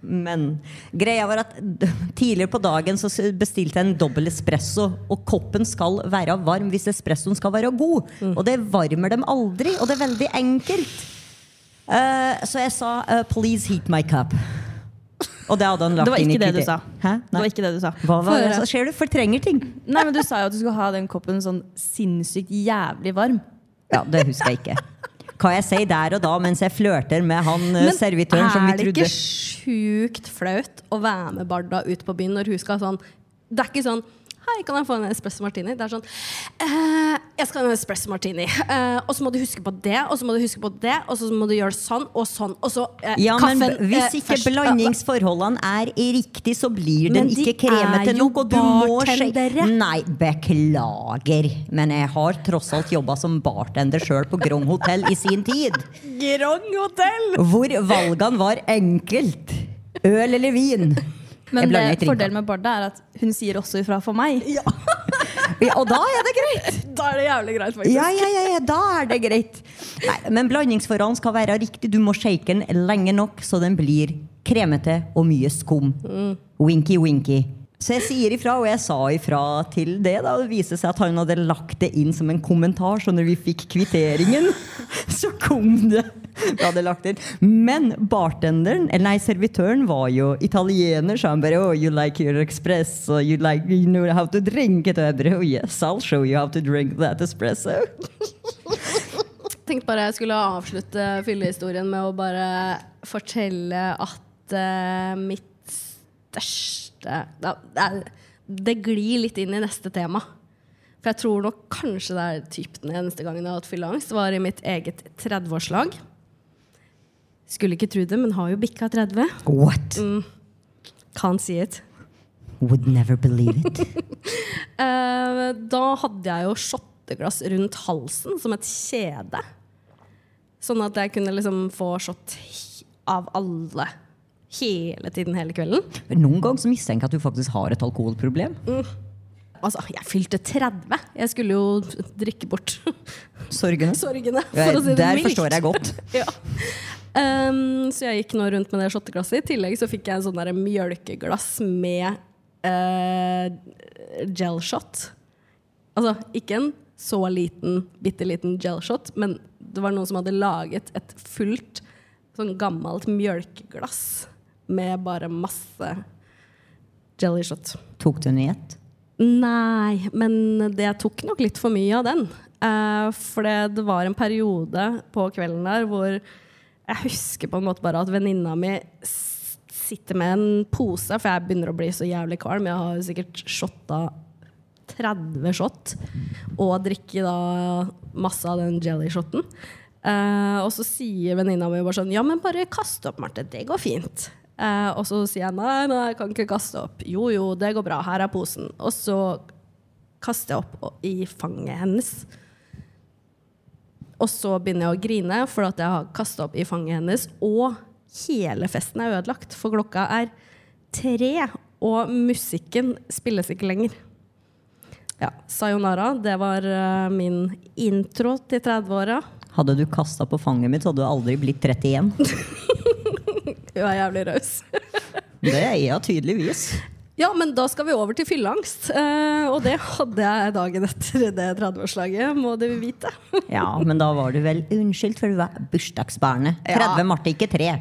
[SPEAKER 3] men greia var at d- tidligere på dagen så s- bestilte jeg en dobbel espresso, og koppen skal være varm hvis espressoen skal være god.
[SPEAKER 4] Mm.
[SPEAKER 3] Og det varmer dem aldri, og det er veldig enkelt. Eh, så jeg sa eh, 'please heat my cup'. Og det hadde han lagt
[SPEAKER 4] Det var
[SPEAKER 3] inn i
[SPEAKER 4] ikke det du
[SPEAKER 3] kriter-
[SPEAKER 4] sa.
[SPEAKER 3] Hæ?
[SPEAKER 4] Det
[SPEAKER 3] Nei.
[SPEAKER 4] var ikke det du sa.
[SPEAKER 3] Hva var det?
[SPEAKER 2] Få høre.
[SPEAKER 3] Så skjer du fortrenger ting.
[SPEAKER 4] Nei, men Du sa jo at du skulle ha den koppen sånn sinnssykt jævlig varm.
[SPEAKER 3] Ja, det husker jeg ikke. Hva jeg sier der og da mens jeg flørter med han eh, servitøren som vi
[SPEAKER 2] er det
[SPEAKER 3] trodde
[SPEAKER 2] ikke sjukt flaut å være med Barda ut på byen når hun skal ha sånn Det er ikke sånn Hei, kan jeg få en espresso martini? Det er sånn «Eh, Jeg skal ha en espresso martini. Eh, og så må du huske på det, og så må du huske på det, og så må du gjøre sånn og sånn, og så eh,
[SPEAKER 3] Ja, men
[SPEAKER 2] kaffen
[SPEAKER 3] b- Hvis
[SPEAKER 2] eh,
[SPEAKER 3] ikke
[SPEAKER 2] først.»
[SPEAKER 3] blandingsforholdene er i riktig, så blir den
[SPEAKER 2] Men de
[SPEAKER 3] ikke kremete
[SPEAKER 2] er jo
[SPEAKER 3] nok. Og du må skje-
[SPEAKER 2] bartendere.
[SPEAKER 3] Nei, beklager. Men jeg har tross alt jobba som bartender sjøl på Grong hotell i sin tid.
[SPEAKER 2] Grong hotell!
[SPEAKER 3] Hvor valgene var enkelt. Øl eller vin. Jeg
[SPEAKER 4] Men
[SPEAKER 3] blander
[SPEAKER 4] det
[SPEAKER 3] ikke drink.
[SPEAKER 4] fordelen med Barda er at hun sier også ifra for meg.
[SPEAKER 3] Ja, Og da er det greit!
[SPEAKER 2] Da er det jævlig greit, faktisk.
[SPEAKER 3] Ja, ja, ja, ja, da er det greit. Nei, men blandingsforholdene skal være riktig. Du må shake den lenge nok, så den blir kremete og mye skum.
[SPEAKER 2] Mm.
[SPEAKER 3] Winky, winky. Så jeg sier ifra, og jeg sa ifra til det. da Det viste seg at han hadde lagt det inn som en kommentar, så når vi fikk kvitteringen, så kom det. Vi hadde lagt det inn. Men bartenderen, eller nei, servitøren var jo italiener, så han bare oh, you like your espresso, you like you know how to drink it. Og jeg bare oh, yes, I'll show you how to drink that espresso.
[SPEAKER 2] tenkte bare jeg skulle avslutte fyllehistorien med å bare fortelle at eh, mitt største ja, det er- Det glir litt inn i neste tema. For jeg tror nok kanskje det er typ den eneste gangen jeg har hatt fylleangst, var i mitt eget 30-årslag. Skulle ikke tro det, men har jo bikka 30.
[SPEAKER 3] What?
[SPEAKER 2] Can't see it.
[SPEAKER 3] Mm. Would never believe it.
[SPEAKER 2] Eh, da hadde jeg jo shotteglass rundt halsen som et kjede. Sånn at jeg kunne liksom få shot he- av alle hele tiden, hele kvelden.
[SPEAKER 3] Men Noen ganger så mistenker jeg at du faktisk har et alkoholproblem.
[SPEAKER 2] Altså, jeg fylte 30. Jeg skulle jo drikke bort
[SPEAKER 3] Sorgene.
[SPEAKER 2] sorgene,
[SPEAKER 3] Ja,
[SPEAKER 2] for å si det
[SPEAKER 3] Der
[SPEAKER 2] mildt.
[SPEAKER 3] forstår jeg godt.
[SPEAKER 2] Ja. Ehm, så jeg gikk nå rundt med det shotteglasset. I tillegg så fikk jeg en sånn der mjølkeglass med eh, gel shot. Altså ikke en så liten, bitte liten gel shot, men det var noen som hadde laget et fullt sånn gammelt mjølkeglass med bare masse jelly shot.
[SPEAKER 3] Tok du den i ett?
[SPEAKER 2] Nei, men det tok nok litt for mye av den. Eh, for det, det var en periode på kvelden der hvor jeg husker på en måte bare at venninna mi s- sitter med en pose, for jeg begynner å bli så jævlig kvalm. Jeg har jo sikkert shotta 30 shot og drikke da masse av den jelly-shoten. Eh, og så sier venninna mi bare sånn Ja, men bare kast opp, Marte. Det går fint. Eh, og så sier jeg nei, nei, jeg kan ikke kaste opp. Jo, jo, det går bra. Her er posen. Og så kaster jeg opp og- i fanget hennes. Og så begynner jeg å grine for at jeg har kasta opp i fanget hennes. Og hele festen er ødelagt, for klokka er tre, og musikken spilles ikke lenger. Ja, Sayonara, det var eh, min intro til 30-åra.
[SPEAKER 3] Hadde du kasta på fanget mitt, så hadde du aldri blitt 30 igjen.
[SPEAKER 2] Hun er jævlig raus.
[SPEAKER 3] Det er jeg tydeligvis.
[SPEAKER 2] Ja, men da skal vi over til fylleangst. eh, og det hadde jeg dagen etter det 30-årslaget, må dere vite.
[SPEAKER 3] Ja, men da var du vel unnskyldt, for du var bursdagsbarnet. 30 Marte, ikke 3.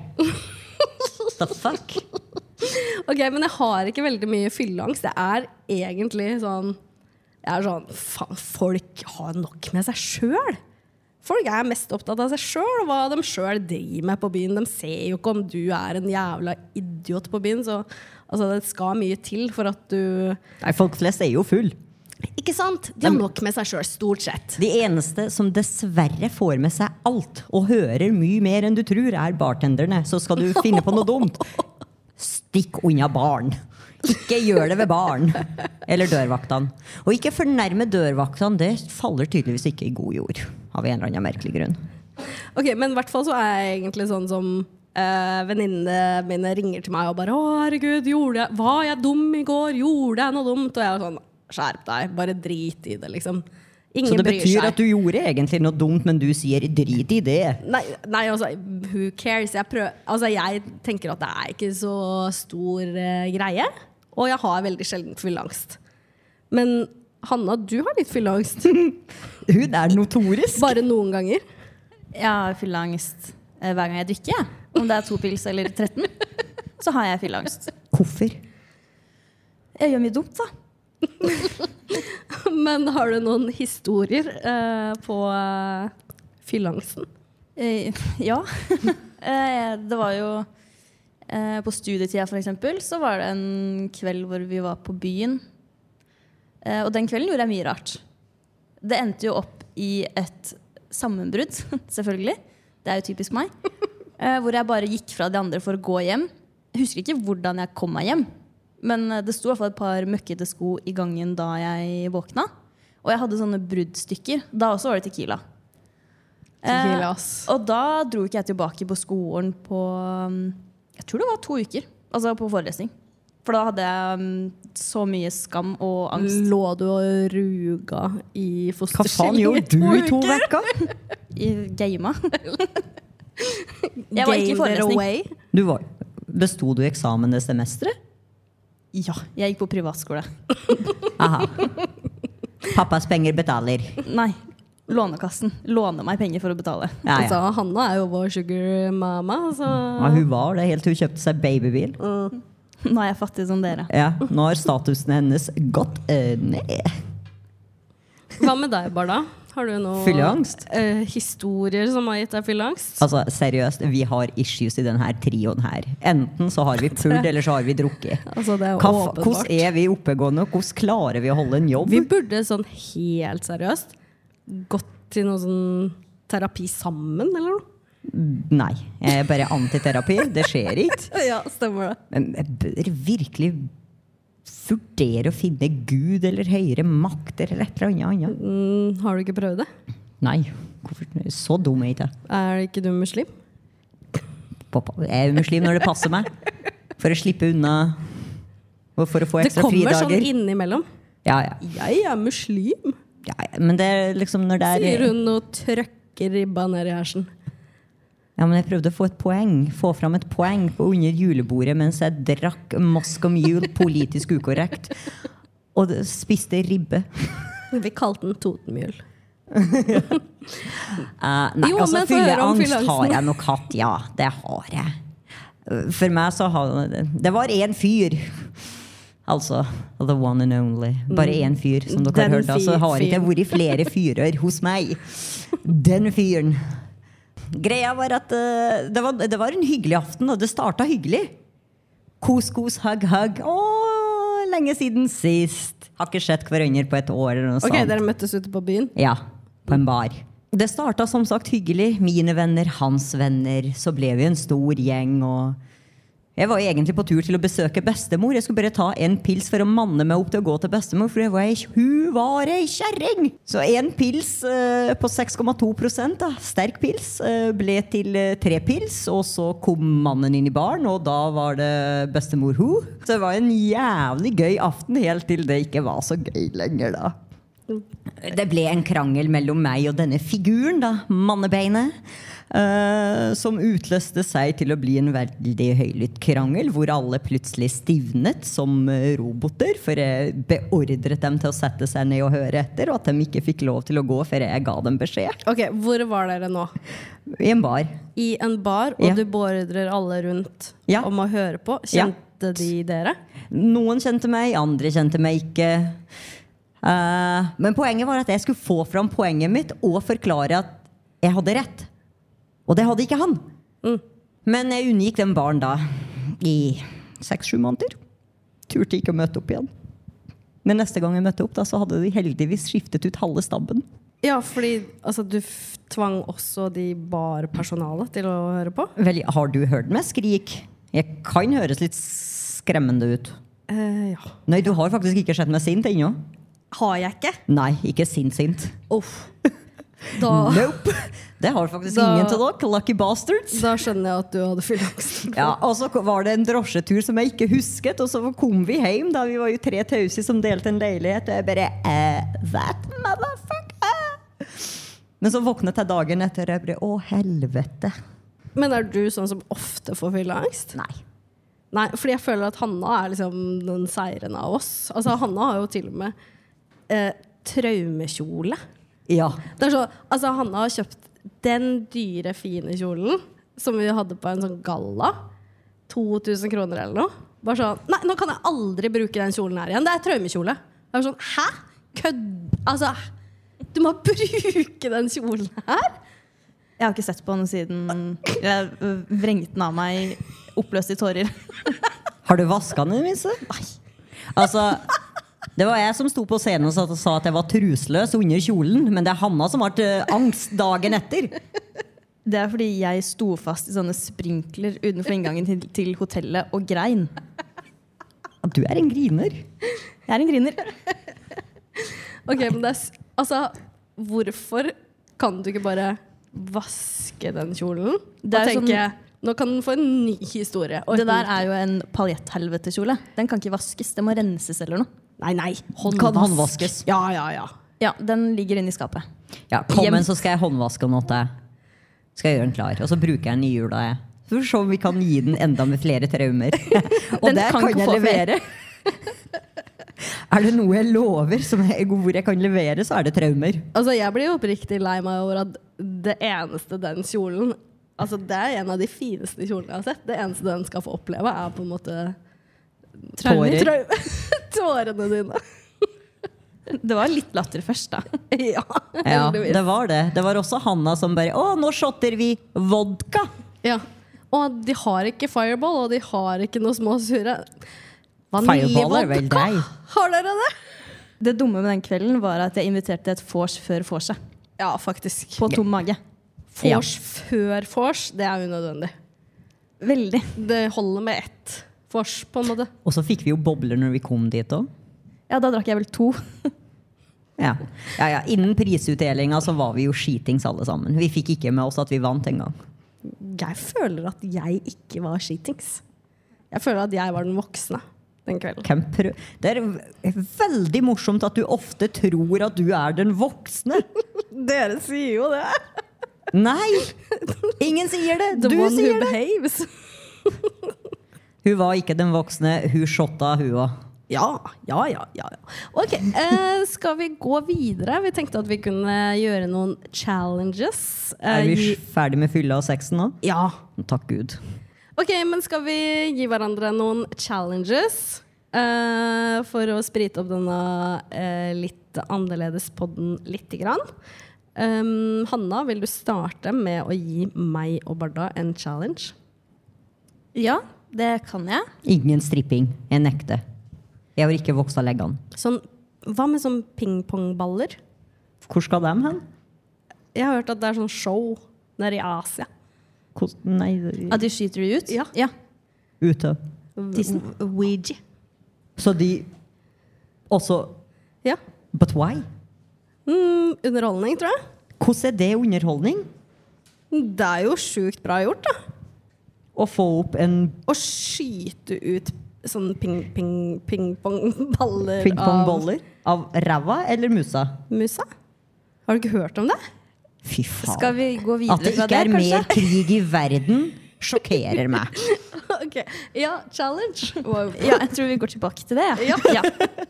[SPEAKER 3] The fuck?
[SPEAKER 2] Ok, men jeg har ikke veldig mye fylleangst. Det er egentlig sånn Jeg er sånn Faen, folk har nok med seg sjøl! Folk er mest opptatt av seg sjøl og hva de sjøl driver med på byen. De ser jo ikke om du er en jævla idiot på byen, så altså, det skal mye til for at du
[SPEAKER 3] Nei, folk flest er jo full.
[SPEAKER 2] Ikke sant? De har nok med seg sjøl, stort sett.
[SPEAKER 3] De eneste som dessverre får med seg alt og hører mye mer enn du tror, er bartenderne. Så skal du finne på noe dumt. Stikk unna baren. Ikke gjør det ved baren. Eller dørvaktene. Og ikke fornærme dørvaktene. Det faller tydeligvis ikke i god jord. Av en eller annen merkelig grunn.
[SPEAKER 2] Ok, Men i hvert fall så er jeg egentlig sånn som eh, venninnene mine ringer til meg og bare 'Å, herregud, gjorde jeg, var jeg dum i går? Gjorde jeg noe dumt?' Og jeg er sånn 'Skjerp deg. Bare drit i det', liksom. Ingen
[SPEAKER 3] Så det
[SPEAKER 2] bryr
[SPEAKER 3] betyr
[SPEAKER 2] seg.
[SPEAKER 3] at du gjorde egentlig noe dumt, men du sier 'drit i det'.
[SPEAKER 2] Nei, nei, altså, who cares? Jeg, prøv, altså, jeg tenker at det er ikke så stor eh, greie. Og jeg har veldig sjelden fylleangst. Men Hanna, du har litt fylleangst.
[SPEAKER 3] Hun er notorisk.
[SPEAKER 2] Bare noen ganger.
[SPEAKER 4] Jeg har fylleangst eh, hver gang jeg drikker. jeg. Om det er to pils eller 13, så har jeg fylleangst.
[SPEAKER 3] Hvorfor?
[SPEAKER 4] Jeg gjør mye dumt, da.
[SPEAKER 2] Men har du noen historier eh, på eh, fylleangsten?
[SPEAKER 4] Eh, ja. Eh, det var jo eh, På studietida, for eksempel, så var det en kveld hvor vi var på byen. Eh, og den kvelden gjorde jeg mye rart. Det endte jo opp i et sammenbrudd, selvfølgelig. Det er jo typisk meg. Eh, hvor jeg bare gikk fra de andre for å gå hjem. Jeg husker ikke hvordan jeg kom meg hjem, men eh, det sto i hvert fall et par møkkete sko i gangen da jeg våkna. Og jeg hadde sånne bruddstykker. Da også var det Tequila. Eh,
[SPEAKER 2] Tequila, ass.
[SPEAKER 4] Og da dro ikke jeg tilbake på skolen på um, Jeg tror det var to uker. Altså på forelesning. For da hadde jeg um, så mye skam og angst.
[SPEAKER 2] Lå du og ruga i
[SPEAKER 3] Hva faen
[SPEAKER 2] fosterstilling
[SPEAKER 3] gjorde du
[SPEAKER 2] i
[SPEAKER 3] i to
[SPEAKER 2] uker?
[SPEAKER 3] uker?
[SPEAKER 4] I gama. Jeg var ikke i
[SPEAKER 2] Gave it
[SPEAKER 4] forelesning.
[SPEAKER 2] away.
[SPEAKER 3] Du var, besto du eksamen det semesteret?
[SPEAKER 4] Ja, jeg gikk på privatskole.
[SPEAKER 3] Aha. Pappas penger betaler.
[SPEAKER 4] Nei. Lånekassen. Låne meg penger for å betale.
[SPEAKER 3] Ja, ja.
[SPEAKER 2] Altså, Hanna er jo vår sugar mama, så
[SPEAKER 3] Ja, hun var det helt til hun kjøpte seg babybil.
[SPEAKER 4] Nå er jeg fattig som dere.
[SPEAKER 3] Ja, nå har statusen hennes gått eh, ned.
[SPEAKER 2] Hva med deg, Barda? Har du noen
[SPEAKER 3] Fylleangst?
[SPEAKER 2] eh, historier som har gitt deg fylleangst?
[SPEAKER 3] Altså, seriøst, vi har issues i denne trioen her. Enten så har vi pult, eller så har vi drukket.
[SPEAKER 2] Altså, det er
[SPEAKER 3] Hva fa-
[SPEAKER 2] åpenbart.
[SPEAKER 3] Hvordan er vi oppegående, og hvordan klarer vi å holde en jobb?
[SPEAKER 2] Vi burde sånn helt seriøst gått til noe sånn terapi sammen, eller noe?
[SPEAKER 3] Nei. Jeg er bare antiterapi. Det skjer ikke.
[SPEAKER 2] Ja, stemmer det.
[SPEAKER 3] Men jeg bør virkelig vurdere å finne Gud eller høyere makter eller et eller annet annet.
[SPEAKER 2] Mm, Har du ikke prøvd det?
[SPEAKER 3] Nei, hvorfor? så dum er jeg ikke.
[SPEAKER 2] Er ikke du muslim?
[SPEAKER 3] Pappa, Jeg er muslim når det passer meg. For å slippe unna og for å få
[SPEAKER 2] Det
[SPEAKER 3] ekstra
[SPEAKER 2] kommer sånn
[SPEAKER 3] fridager.
[SPEAKER 2] innimellom.
[SPEAKER 3] Ja, ja.
[SPEAKER 2] Jeg er muslim,
[SPEAKER 3] Ja, ja, men det er liksom når det
[SPEAKER 2] sier
[SPEAKER 3] er
[SPEAKER 2] hun og trøkker ribba ned i hersen.
[SPEAKER 3] Ja, men jeg prøvde å få et poeng. Få fram et poeng på under julebordet mens jeg drakk Moscow Mule politisk ukorrekt. Og det- spiste ribbe.
[SPEAKER 2] Vi kalte den Totenmjøl.
[SPEAKER 3] Eh, nei,
[SPEAKER 2] Jo,
[SPEAKER 3] altså,
[SPEAKER 2] men få høre om
[SPEAKER 3] fylleangst har
[SPEAKER 2] fylleangsten.
[SPEAKER 3] jeg nok hatt. Ja, det har jeg. Eh, For meg så har Det var én fyr. Altså the one and only. Bare én fyr, som dere
[SPEAKER 2] Mm. Den
[SPEAKER 3] har hørt. da, Så
[SPEAKER 2] fyr-
[SPEAKER 3] har ikke
[SPEAKER 2] fyren.
[SPEAKER 3] vært flere fyrer hos meg. Den fyren. Greia var at eh, det, var, det var en hyggelig aften, og det starta hyggelig. Kos, kos, hugg, hugg. Å, lenge siden sist. Har ikke sett hverandre på et år. eller noe
[SPEAKER 2] Ok,
[SPEAKER 3] sånt.
[SPEAKER 2] dere møttes ute på byen.
[SPEAKER 3] Ja, på en bar. Det starta som sagt hyggelig. Mine venner, hans venner. Så ble vi en stor gjeng. og Jeg var egentlig på tur til å besøke bestemor. Jeg skulle bare ta en pils for å manne meg opp til å gå til bestemor, for jeg var ei, hun var ei kjerring! Så én pils eh, på 6,2 da, sterk pils, eh, ble til eh, tre pils. Og så kom mannen inn i baren, og da var det bestemor ho. Så det var en jævlig gøy aften helt til det ikke var så gøy lenger, da. Det ble en krangel mellom meg og denne figuren, da, mannebeinet. eh, som utløste seg til å bli en veldig høylytt krangel, hvor alle plutselig stivnet som eh, roboter. For jeg beordret dem til å sette seg ned og høre etter, og at de ikke fikk lov til å gå før jeg ga dem beskjed.
[SPEAKER 2] Ok, Hvor var dere nå?
[SPEAKER 3] I en bar.
[SPEAKER 2] I en bar, og
[SPEAKER 3] Ja.
[SPEAKER 2] du beordrer alle rundt
[SPEAKER 3] Ja.
[SPEAKER 2] om å høre på. Kjente de dere?
[SPEAKER 3] Noen kjente meg, andre kjente meg ikke. Eh, men poenget var at jeg skulle få fram poenget mitt og forklare at jeg hadde rett. Og det hadde ikke han. Men jeg unngikk den baren da i seks-sju måneder. Turte ikke å møte opp igjen. Men neste gang jeg møtte opp, da, så hadde de heldigvis skiftet ut halve stabben.
[SPEAKER 2] Ja, fordi altså, du f tvang også de barpersonalet til å høre på.
[SPEAKER 3] Vel, har du hørt meg skrik? Jeg kan høres litt skremmende ut.
[SPEAKER 2] Eh, ja.
[SPEAKER 3] Nei, du har faktisk ikke sett meg sint ennå.
[SPEAKER 2] Har jeg ikke?
[SPEAKER 3] Nei, ikke sint-sint.
[SPEAKER 2] Uff. Da,
[SPEAKER 3] Nope. Det har faktisk
[SPEAKER 2] Da-
[SPEAKER 3] ingen til dere. Lucky bastards.
[SPEAKER 2] da skjønner jeg at du hadde fylleangst.
[SPEAKER 3] Ja, og så var det en drosjetur som jeg ikke husket, og så kom vi hjem. Da vi var jo tre tause som delte en leilighet, og jeg bare eh, That motherfucker! Men så våknet jeg dagen etter, og jeg bare Å, helvete.
[SPEAKER 2] Men er du sånn som ofte får fylleangst?
[SPEAKER 3] Nei.
[SPEAKER 2] Nei, fordi jeg føler at Hanna er liksom den seirende av oss. Altså, Hanna har jo til og med eh, traumekjole.
[SPEAKER 3] Ja.
[SPEAKER 2] Det er så, altså, Hanna har kjøpt den dyre, fine kjolen som vi hadde på en sånn galla. 2000 kroner eller noe. Bare sånn Nei, nå kan jeg aldri bruke den kjolen her igjen. Det er traumekjole. Jeg var sånn Hæ? Kødd? Altså, du må bruke den kjolen her?
[SPEAKER 4] Jeg har ikke sett på henne siden jeg øh, vrengte den av meg oppløst i tårer.
[SPEAKER 3] Har du vaska den, Minse? Nei. Altså det var jeg som sto på scenen og sa- sa at jeg var trusløs under kjolen, men det er Hanna som har eh, angst dagen etter.
[SPEAKER 4] Det er fordi jeg sto fast i sånne sprinkler utenfor inngangen til, til hotellet og grein.
[SPEAKER 3] Du er en griner.
[SPEAKER 4] Jeg er en griner.
[SPEAKER 2] Ok, men det er s- Altså, hvorfor kan du ikke bare vaske den kjolen?
[SPEAKER 4] Det er
[SPEAKER 2] og
[SPEAKER 4] jo
[SPEAKER 2] tenke Nå kan den få en ny historie. Og
[SPEAKER 4] Det der er jo en paljetthelvetekjole. Den kan ikke vaskes. Den må renses eller noe.
[SPEAKER 2] Nei, nei.
[SPEAKER 3] Kan håndvaskes.
[SPEAKER 2] Ja, ja, ja.
[SPEAKER 4] Ja, Den ligger inne i skapet.
[SPEAKER 3] Ja, kom
[SPEAKER 4] Hjem.
[SPEAKER 3] men så skal jeg håndvaske den åt deg. Skal jeg gjøre den klar. Og så bruker jeg den i jula, jeg. Så får vi se om vi kan gi den enda med flere traumer. Og
[SPEAKER 4] Den
[SPEAKER 3] der
[SPEAKER 4] kan
[SPEAKER 3] kan,
[SPEAKER 4] ikke
[SPEAKER 3] jeg
[SPEAKER 4] få flere.
[SPEAKER 3] levere. er det noe jeg lover som jeg, hvor jeg kan levere, så er det traumer.
[SPEAKER 2] Altså, jeg blir jo oppriktig lei meg over at det eneste den kjolen Altså, det er en av de fineste kjolene jeg har sett. Det eneste den skal få oppleve, er på en måte
[SPEAKER 3] Tårer.
[SPEAKER 2] Trau- Tårene dine.
[SPEAKER 4] Det var litt latter først, da.
[SPEAKER 2] ja,
[SPEAKER 3] Ja,
[SPEAKER 2] heldigvis.
[SPEAKER 3] det var det. Det var også Hanna som bare Å, nå shotter vi vodka!
[SPEAKER 2] Ja. Og de har ikke fireball, og de har ikke noe små sure
[SPEAKER 3] Fireball er vel
[SPEAKER 2] Vaniljevodka.
[SPEAKER 3] deg.
[SPEAKER 2] Har dere det?
[SPEAKER 4] Det dumme med den kvelden var at jeg inviterte til et vors før vorset.
[SPEAKER 2] Ja, faktisk.
[SPEAKER 4] På tom mage.
[SPEAKER 2] Vors før vors, det er unødvendig.
[SPEAKER 4] Veldig.
[SPEAKER 2] Det holder med ett vors, på en måte.
[SPEAKER 3] Og så fikk vi jo bobler når vi kom dit òg.
[SPEAKER 4] Ja, da drakk jeg vel to.
[SPEAKER 3] Ja. Ja, ja. Innen prisutdelinga så var vi jo skitings alle sammen. Vi fikk ikke med oss at vi vant engang.
[SPEAKER 2] Jeg føler at jeg ikke var skitings. Jeg føler at jeg var den voksne den kvelden.
[SPEAKER 3] Hvem prø det er v- veldig morsomt at du ofte tror at du er den voksne.
[SPEAKER 2] Dere sier jo det.
[SPEAKER 3] Nei! Ingen sier det! Du sier det!
[SPEAKER 2] behaves.
[SPEAKER 3] Hun var ikke den voksne, hun shotta hun òg.
[SPEAKER 2] Ja, ja, ja. ja. ja. Ok, eh, skal vi gå videre? Vi tenkte at vi kunne gjøre noen challenges. Eh,
[SPEAKER 3] Er vi
[SPEAKER 2] gi-
[SPEAKER 3] s- ferdig med fylla og sexen nå?
[SPEAKER 2] ja.
[SPEAKER 3] Takk Gud.
[SPEAKER 2] Ok, men skal vi gi hverandre noen challenges? eh, for å sprite opp denne eh, litt annerledes podden lite grann. Um, Hanna, vil du starte med å gi meg og Barda en challenge?
[SPEAKER 4] Ja, det kan jeg.
[SPEAKER 3] Ingen stripping. Jeg nekter. Jeg har ikke vokst av leggene.
[SPEAKER 2] Sånn, hva med sånn pingpongballer?
[SPEAKER 3] Hvor skal de hen?
[SPEAKER 2] Jeg har hørt at det er sånn show nede i Asia.
[SPEAKER 3] Hvor- Nei, det-
[SPEAKER 4] Ja, de skyter de ut?
[SPEAKER 2] Ja.
[SPEAKER 3] ute.
[SPEAKER 2] Ouija.
[SPEAKER 3] Så de også
[SPEAKER 2] Ja.
[SPEAKER 3] But why?
[SPEAKER 2] Mm, underholdning, tror jeg.
[SPEAKER 3] Hvordan er det underholdning?
[SPEAKER 2] Det er jo sjukt bra gjort, da.
[SPEAKER 3] Å få opp en
[SPEAKER 2] Å skyte ut sånn ping-ping-ping-pong-baller
[SPEAKER 3] pingpongboller av ræva eller musa?
[SPEAKER 2] av musa? Har du ikke hørt om det?
[SPEAKER 3] Fy faen.
[SPEAKER 4] Skal vi gå
[SPEAKER 3] At
[SPEAKER 4] videre
[SPEAKER 3] det
[SPEAKER 4] fra
[SPEAKER 3] ikke
[SPEAKER 4] det,
[SPEAKER 3] er
[SPEAKER 4] kanskje?
[SPEAKER 3] mer krig i verden, sjokkerer meg.
[SPEAKER 2] Ok, Ja, challenge. Wow.
[SPEAKER 4] Ja, jeg tror vi går tilbake til det. Ja. Ja.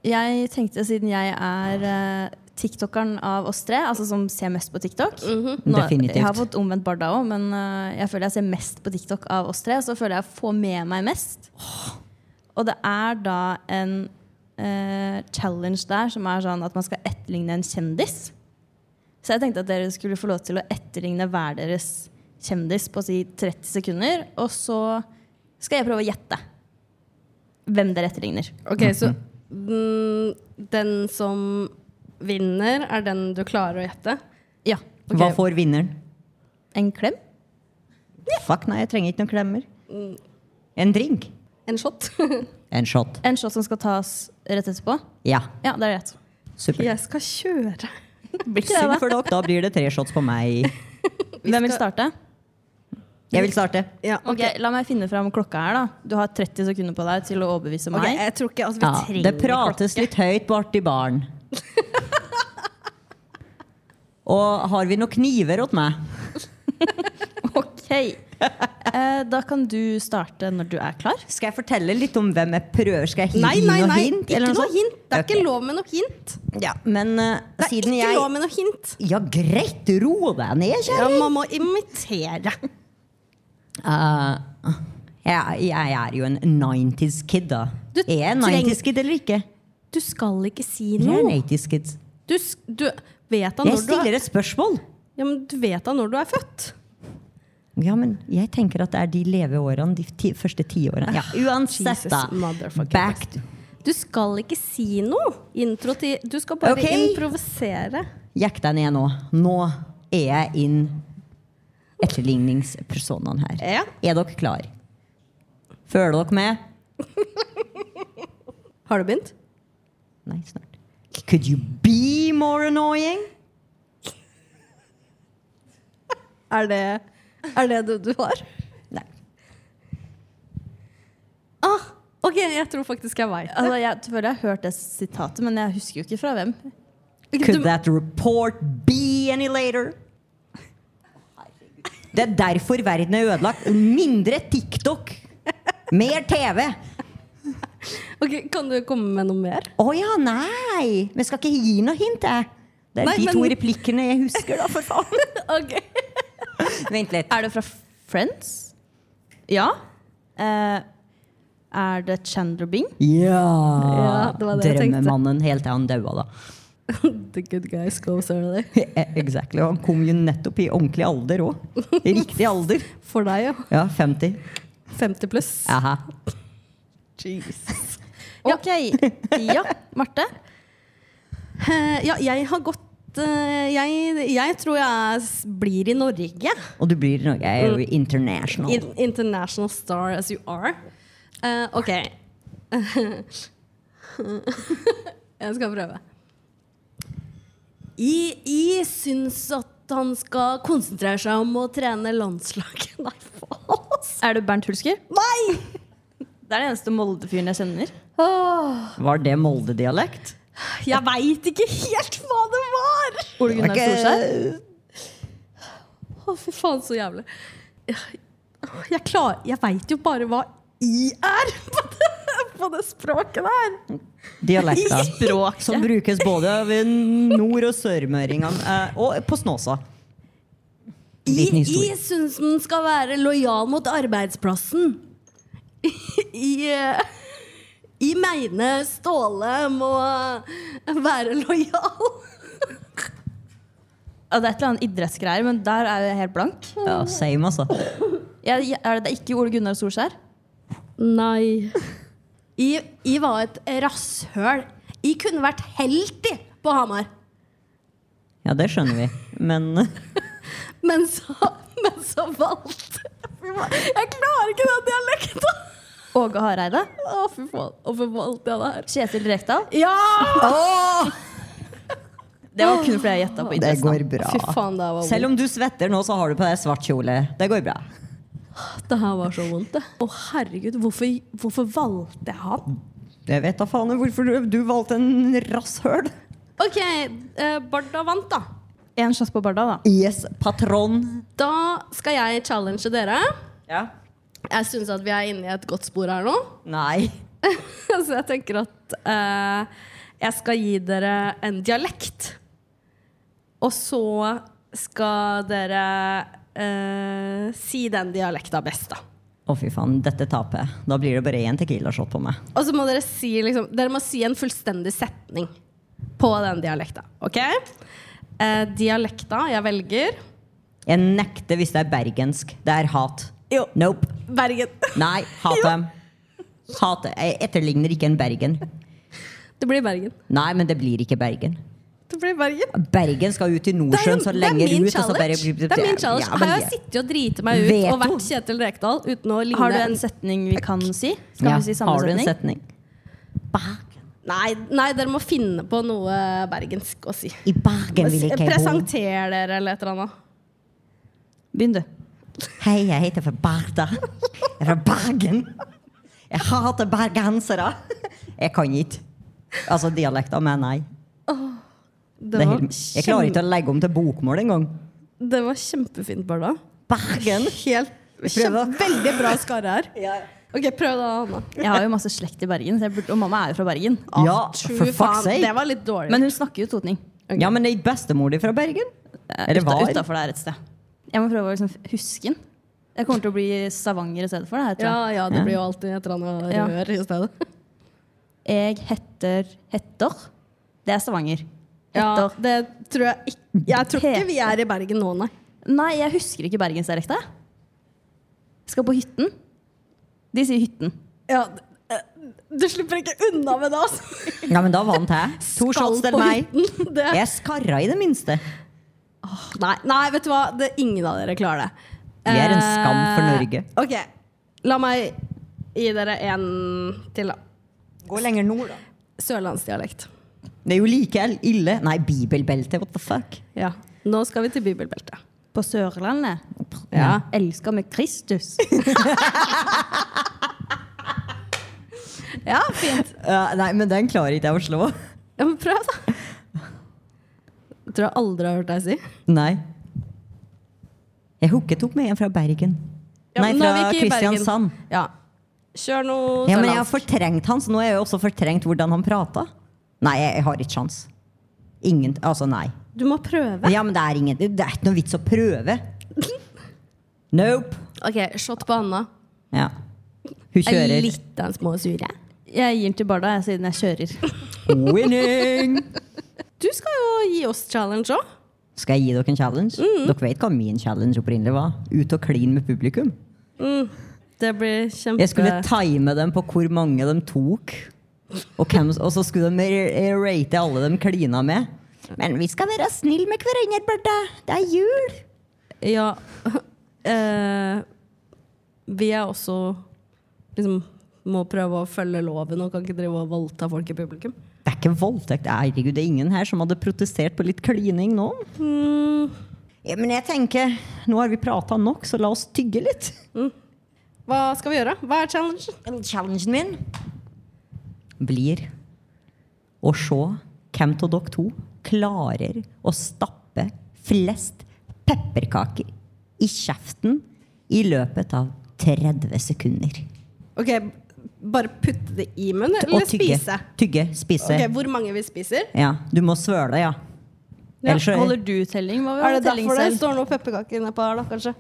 [SPEAKER 4] Jeg tenkte siden jeg er eh, TikTokeren av oss tre, altså som ser mest på TikTok Nå,
[SPEAKER 3] Definitivt.
[SPEAKER 4] Jeg har fått omvendt Barda òg, men eh, jeg føler jeg ser mest på TikTok av oss tre. Så føler jeg jeg får med meg mest. Og det er da en eh, challenge der som er sånn at man skal etterligne en kjendis. Så jeg tenkte at dere skulle få lov til å etterligne hver deres kjendis på si 30 sekunder. Og så skal jeg prøve å gjette hvem dere etterligner.
[SPEAKER 2] Ok, så mm, den som vinner, er den du klarer å gjette?
[SPEAKER 4] Ja.
[SPEAKER 3] Hva får vinneren?
[SPEAKER 4] En klem?
[SPEAKER 3] Fuck, nei, jeg trenger ikke noen klemmer. En drink.
[SPEAKER 2] En shot?
[SPEAKER 3] En shot.
[SPEAKER 4] En shot som skal tas rett etterpå?
[SPEAKER 3] Ja,
[SPEAKER 4] Ja, det er rett.
[SPEAKER 3] supert.
[SPEAKER 2] Jeg skal kjøre.
[SPEAKER 4] Blir ikke
[SPEAKER 3] Synd
[SPEAKER 4] det, da?
[SPEAKER 3] for dere, da blir det tre shots på meg.
[SPEAKER 4] Hvem vil starte?
[SPEAKER 3] Jeg vil starte.
[SPEAKER 2] Ja,
[SPEAKER 4] Ok, La meg finne fram klokka her, da. Du har 30 sekunder på deg til å overbevise
[SPEAKER 2] Ok,
[SPEAKER 4] meg.
[SPEAKER 2] jeg tror ikke at vi
[SPEAKER 3] Ja,
[SPEAKER 2] trenger
[SPEAKER 3] det prates litt høyt borti baren. Og har vi noen kniver åt meg?
[SPEAKER 4] Ok. Eh, da kan du starte når du er klar.
[SPEAKER 3] Skal jeg fortelle litt om hvem jeg prøver? Skal jeg gi
[SPEAKER 2] Nei, nei,
[SPEAKER 3] noe
[SPEAKER 2] nei.
[SPEAKER 3] hint?
[SPEAKER 2] Ikke
[SPEAKER 3] eller
[SPEAKER 2] noe
[SPEAKER 3] sånt?
[SPEAKER 2] hint. Det er
[SPEAKER 3] Ok.
[SPEAKER 2] ikke lov med noe hint.
[SPEAKER 3] Ja, men eh,
[SPEAKER 2] Det er
[SPEAKER 3] siden
[SPEAKER 2] ikke
[SPEAKER 3] jeg
[SPEAKER 2] lov med noe hint.
[SPEAKER 3] Ja, greit! Ro deg ned,
[SPEAKER 2] Ja,
[SPEAKER 3] kjæring!
[SPEAKER 2] man må imitere.
[SPEAKER 3] Eh, jeg, jeg er jo en 90's kid, da.
[SPEAKER 2] Du
[SPEAKER 3] er jeg en 90's kid eller ikke?
[SPEAKER 2] Du skal ikke si
[SPEAKER 3] Jeg er en
[SPEAKER 2] noe.
[SPEAKER 3] 80's kid.
[SPEAKER 2] Du, s- du vet da
[SPEAKER 3] Jeg
[SPEAKER 2] når du er,
[SPEAKER 3] stiller et spørsmål!
[SPEAKER 2] ja, men du vet da når du er født.
[SPEAKER 3] Ja, men jeg tenker at det er de leveårene, de ti, første tiårene. Ja, uansett,
[SPEAKER 2] Jesus
[SPEAKER 3] da.
[SPEAKER 2] motherfucking
[SPEAKER 3] Back to
[SPEAKER 2] Du skal ikke si noe. Intro til Du skal bare
[SPEAKER 3] Ok.
[SPEAKER 2] improvisere.
[SPEAKER 3] Jakk deg ned nå. Nå er jeg inn etterligningspersonaen her.
[SPEAKER 2] Ja.
[SPEAKER 3] Er dere klar? Føler dere med?
[SPEAKER 2] Har du begynt?
[SPEAKER 3] Nei, snart. Could you be more annoying?
[SPEAKER 2] Er det er det det du har?
[SPEAKER 3] Nei.
[SPEAKER 2] Ah, ok, jeg tror faktisk jeg veit
[SPEAKER 3] Ah,
[SPEAKER 2] det.
[SPEAKER 4] Altså, jeg føler jeg har hørt det sitatet, men jeg husker jo ikke fra hvem.
[SPEAKER 3] Could that report be any later? Det er derfor verden er ødelagt. Mindre TikTok, mer TV.
[SPEAKER 2] Ok, Kan du komme med noe mer?
[SPEAKER 3] Å ja, nei! Men skal ikke gi noe hint, jeg. Det er
[SPEAKER 2] Nei,
[SPEAKER 3] de
[SPEAKER 2] men-
[SPEAKER 3] to replikkene jeg husker, da, for faen.
[SPEAKER 2] Ok
[SPEAKER 3] Vent litt.
[SPEAKER 4] Er det fra Friends? Ja. Eh, er det Chandler Bing?
[SPEAKER 3] Ja!
[SPEAKER 2] Ja, det var det jeg tenkte.
[SPEAKER 3] Drømmemannen helt til han daua, da. Eh,
[SPEAKER 2] The good guys goes early.
[SPEAKER 3] exactly. Og han kom jo nettopp i ordentlig alder òg. Riktig alder.
[SPEAKER 2] For deg, ja.
[SPEAKER 3] Ja, 50.
[SPEAKER 2] 50 pluss.
[SPEAKER 3] Aha.
[SPEAKER 4] Ok. Ja, Marte?
[SPEAKER 2] Eh, ja, jeg har gått eh, jeg, jeg tror jeg s- blir i Norge.
[SPEAKER 3] Og du blir noe Jeg er
[SPEAKER 2] Mm.
[SPEAKER 3] jo international.
[SPEAKER 2] In, international star as you are. Eh, ok. jeg skal prøve. Jeg, jeg syns at han skal konsentrere seg om å trene landslaget. Nei, faen! ass.
[SPEAKER 4] Er det Bernt Hulsker?
[SPEAKER 2] Nei!
[SPEAKER 4] Det er den eneste Molde-fyren jeg kjenner.
[SPEAKER 3] Var det Molde-dialekt?
[SPEAKER 2] Jeg veit ikke helt hva det var!
[SPEAKER 4] Ole Gunnar
[SPEAKER 3] Ok.
[SPEAKER 4] Solskjær.
[SPEAKER 2] Å, fy faen, så jævlig. Jeg, klar, jeg veit jo bare hva i er på det, på det språket der.
[SPEAKER 3] Dialekta.
[SPEAKER 4] Språket.
[SPEAKER 3] Som brukes både av nord- og sørmøringene. eh, Og på Snåsa. Liten
[SPEAKER 2] Jeg,
[SPEAKER 3] historie.
[SPEAKER 2] jeg syns den skal være lojal mot arbeidsplassen. Jeg, jeg mener Ståle må være lojal.
[SPEAKER 4] Ja, det er et eller annet idrettsgreier, men der er jeg helt blank.
[SPEAKER 3] Ja, same, altså.
[SPEAKER 4] Jeg, jeg- er det, det er ikke Ole Gunnar Solskjær?
[SPEAKER 2] Nei. Jeg, jeg var et rasshøl. Jeg kunne vært helt i på Hamar.
[SPEAKER 3] Ja, det skjønner vi. Men
[SPEAKER 2] Men så, men så valgte Fy faen, Jeg klarer ikke den dialekta!
[SPEAKER 4] Åge Hareide.
[SPEAKER 2] Å, fy faen. Hvorfor valgte jeg det her?
[SPEAKER 4] Kjetil Rekdal.
[SPEAKER 2] Ja!
[SPEAKER 4] Det var kun fordi jeg gjetta på
[SPEAKER 3] det
[SPEAKER 4] interessen.
[SPEAKER 3] går bra.
[SPEAKER 2] Fy faen, det her var
[SPEAKER 3] Selv om du svetter nå, så har du på deg svart kjole. Det går bra.
[SPEAKER 2] vondt. Det her var så vondt, det. Å, herregud, hvorfor, hvorfor valgte jeg han?
[SPEAKER 3] Jeg vet da faen hvorfor du, du valgte en rasshøl.
[SPEAKER 2] OK, eh, Barda vant, da.
[SPEAKER 4] En shot på Barda, da.
[SPEAKER 3] Yes, patron.
[SPEAKER 2] Da skal jeg challenge dere.
[SPEAKER 3] Ja.
[SPEAKER 2] Jeg syns at vi er inne i et godt spor her nå.
[SPEAKER 3] Nei.
[SPEAKER 2] Så jeg tenker at eh, jeg skal gi dere en dialekt. Og så skal dere eh, si den dialekta best, da.
[SPEAKER 3] Å, fy faen, dette taper jeg. Da blir det bare én Tequila-shot på meg.
[SPEAKER 2] Og så må dere si, liksom, dere må si en fullstendig setning på den dialekta. Ok? Eh, dialekta jeg velger
[SPEAKER 3] Jeg nekter hvis det er bergensk. Det er hat.
[SPEAKER 2] Jo.
[SPEAKER 3] Nope.
[SPEAKER 2] Bergen.
[SPEAKER 3] Nei, hat
[SPEAKER 2] Jo.
[SPEAKER 3] dem. Hat. Jeg etterligner ikke en Bergen.
[SPEAKER 2] Det blir Bergen.
[SPEAKER 3] Nei, men det blir ikke Bergen.
[SPEAKER 2] Det blir Bergen.
[SPEAKER 3] Bergen skal ut i Nordsjøen så lenger
[SPEAKER 2] min
[SPEAKER 3] ut. og så
[SPEAKER 2] challenge.
[SPEAKER 3] bare-
[SPEAKER 2] Det er min challenge.
[SPEAKER 3] Ja, men
[SPEAKER 2] Her har
[SPEAKER 3] jeg-
[SPEAKER 2] jeg sittet og driti meg ut og
[SPEAKER 3] Veto.
[SPEAKER 2] vært Kjetil Rekdal uten å ligne
[SPEAKER 4] Har du en setning vi kan si? Skal
[SPEAKER 3] Ja,
[SPEAKER 4] vi si samme
[SPEAKER 3] Har du en
[SPEAKER 4] setning?
[SPEAKER 3] setning?
[SPEAKER 2] Nei, nei, dere må finne på noe bergensk å si.
[SPEAKER 3] I Bergen vil jeg ikke bo.
[SPEAKER 2] Presenter dere eller et eller annet.
[SPEAKER 4] Begynn, du.
[SPEAKER 3] Hei, jeg heter fra Barda. Jeg er fra Bergen. Jeg hater bergensere. Jeg kan ikke. Altså dialekta, men nei. Det er helt, jeg klarer ikke å legge om til bokmål engang.
[SPEAKER 2] det var kjempefint, Barda.
[SPEAKER 3] Bergen!
[SPEAKER 2] Helt
[SPEAKER 3] Prøv
[SPEAKER 2] kjempe, veldig bra skarre her. Ok, prøv da, Anna.
[SPEAKER 4] Jeg har jo masse slekt i Bergen, så jeg burde, og mamma er jo fra Bergen.
[SPEAKER 3] Ja, for
[SPEAKER 2] Fy faen,
[SPEAKER 3] fuck's sake!
[SPEAKER 2] Det var litt dårlig.
[SPEAKER 4] Men hun snakker jo totning.
[SPEAKER 3] Ja, men er ikke bestemor di fra Bergen? Eller var?
[SPEAKER 4] Utafor der et sted. Jeg må prøve å liksom huske den. Jeg kommer til å bli Stavanger i stedet for det. her, tror
[SPEAKER 2] ja,
[SPEAKER 4] jeg.
[SPEAKER 2] ja, det blir jo alltid et eller annet
[SPEAKER 4] Ja.
[SPEAKER 2] rør i stedet.
[SPEAKER 4] Jeg heter Hetter. Det er Stavanger.
[SPEAKER 2] Ja,
[SPEAKER 4] Hetter.
[SPEAKER 2] det tror jeg ikke Jeg tror ikke vi er i Bergen nå, nei.
[SPEAKER 4] Nei, jeg husker ikke bergensdialekta. jeg. Skal på hytten. De sier hytten.
[SPEAKER 2] Ja, eh, du slipper ikke unna med det, altså.
[SPEAKER 3] Ja, men da vant jeg. To shots til meg.
[SPEAKER 2] Det
[SPEAKER 3] Jeg skarra i det minste.
[SPEAKER 2] Nei, nei vet du hva? Det, ingen av dere klarer det.
[SPEAKER 3] Vi er en skam for Norge.
[SPEAKER 2] Eh, ok, La meg gi dere en til, da.
[SPEAKER 3] Gå lenger nord, da.
[SPEAKER 2] Sørlandsdialekt.
[SPEAKER 3] Det er jo like ille. Nei, bibelbelte, what the fuck?
[SPEAKER 2] Ja. Nå skal vi til bibelbeltet.
[SPEAKER 4] På Sørlandet.
[SPEAKER 2] Ja.
[SPEAKER 4] Elsker med Kristus.
[SPEAKER 2] ja, fint.
[SPEAKER 3] Ja, nei, men den klarer ikke jeg å slå.
[SPEAKER 2] Ja, men prøv, da. Jeg tror jeg aldri har hørt deg si.
[SPEAKER 3] Nei. Jeg hooket opp med en fra Bergen.
[SPEAKER 2] Ja,
[SPEAKER 3] nei,
[SPEAKER 2] men nå er
[SPEAKER 3] fra
[SPEAKER 2] vi ikke i Bergen.
[SPEAKER 3] Kristiansand.
[SPEAKER 2] Ja. Kjør noe
[SPEAKER 3] Ja, men jeg har
[SPEAKER 2] sørlandsk.
[SPEAKER 3] fortrengt han, så nå har jeg jo også fortrengt hvordan han prata. Nei, jeg jeg har ikke sjans. Ingen, altså nei.
[SPEAKER 2] Du må prøve.
[SPEAKER 3] Ja, men det er ingen, det er ikke noe vits å prøve. Nope.
[SPEAKER 2] Ok, Shot på Anna.
[SPEAKER 3] Ja. Hun
[SPEAKER 2] Er
[SPEAKER 3] kjører.
[SPEAKER 2] litt av en småsure.
[SPEAKER 4] Jeg gir den til Barda, jeg, siden jeg kjører.
[SPEAKER 3] Winning!
[SPEAKER 2] Du skal jo gi oss challenge òg.
[SPEAKER 3] Skal jeg gi dere en challenge? Dere vet hva min challenge opprinnelig var? Ut og kline med publikum.
[SPEAKER 2] Det blir kjempe...
[SPEAKER 3] Jeg skulle time dem på hvor mange de tok. Og, hvem, og så skulle de ra- rate alle de klina med. Men vi skal være snille med hverandre, Bertha. Det er jul.
[SPEAKER 2] Ja. eh, vi er også liksom må prøve å følge loven og kan ikke drive og voldta folk i publikum.
[SPEAKER 3] Det er ikke voldtekt. Herregud, det er ingen her som hadde protestert på litt klining nå. Ja, men jeg tenker, nå har vi prata nok, så la oss tygge litt.
[SPEAKER 2] Hva skal vi gjøre? Hva er challengen?
[SPEAKER 3] Challengen min blir å se hvem av dere to klarer å stappe flest pepperkaker i kjeften i løpet av 30 sekunder.
[SPEAKER 2] Ok, Bare putte det i munnen,
[SPEAKER 3] Og
[SPEAKER 2] eller
[SPEAKER 3] tygge.
[SPEAKER 2] spise?
[SPEAKER 3] Tygge, spise.
[SPEAKER 2] Ok, Hvor mange vi spiser?
[SPEAKER 3] Ja, du må svøle, ja. Ellers så-
[SPEAKER 4] Holder du telling? Hva vil
[SPEAKER 2] Er det
[SPEAKER 4] ha telling
[SPEAKER 2] derfor det
[SPEAKER 4] selv?
[SPEAKER 2] står noe pepperkaker nedpå her, da, kanskje?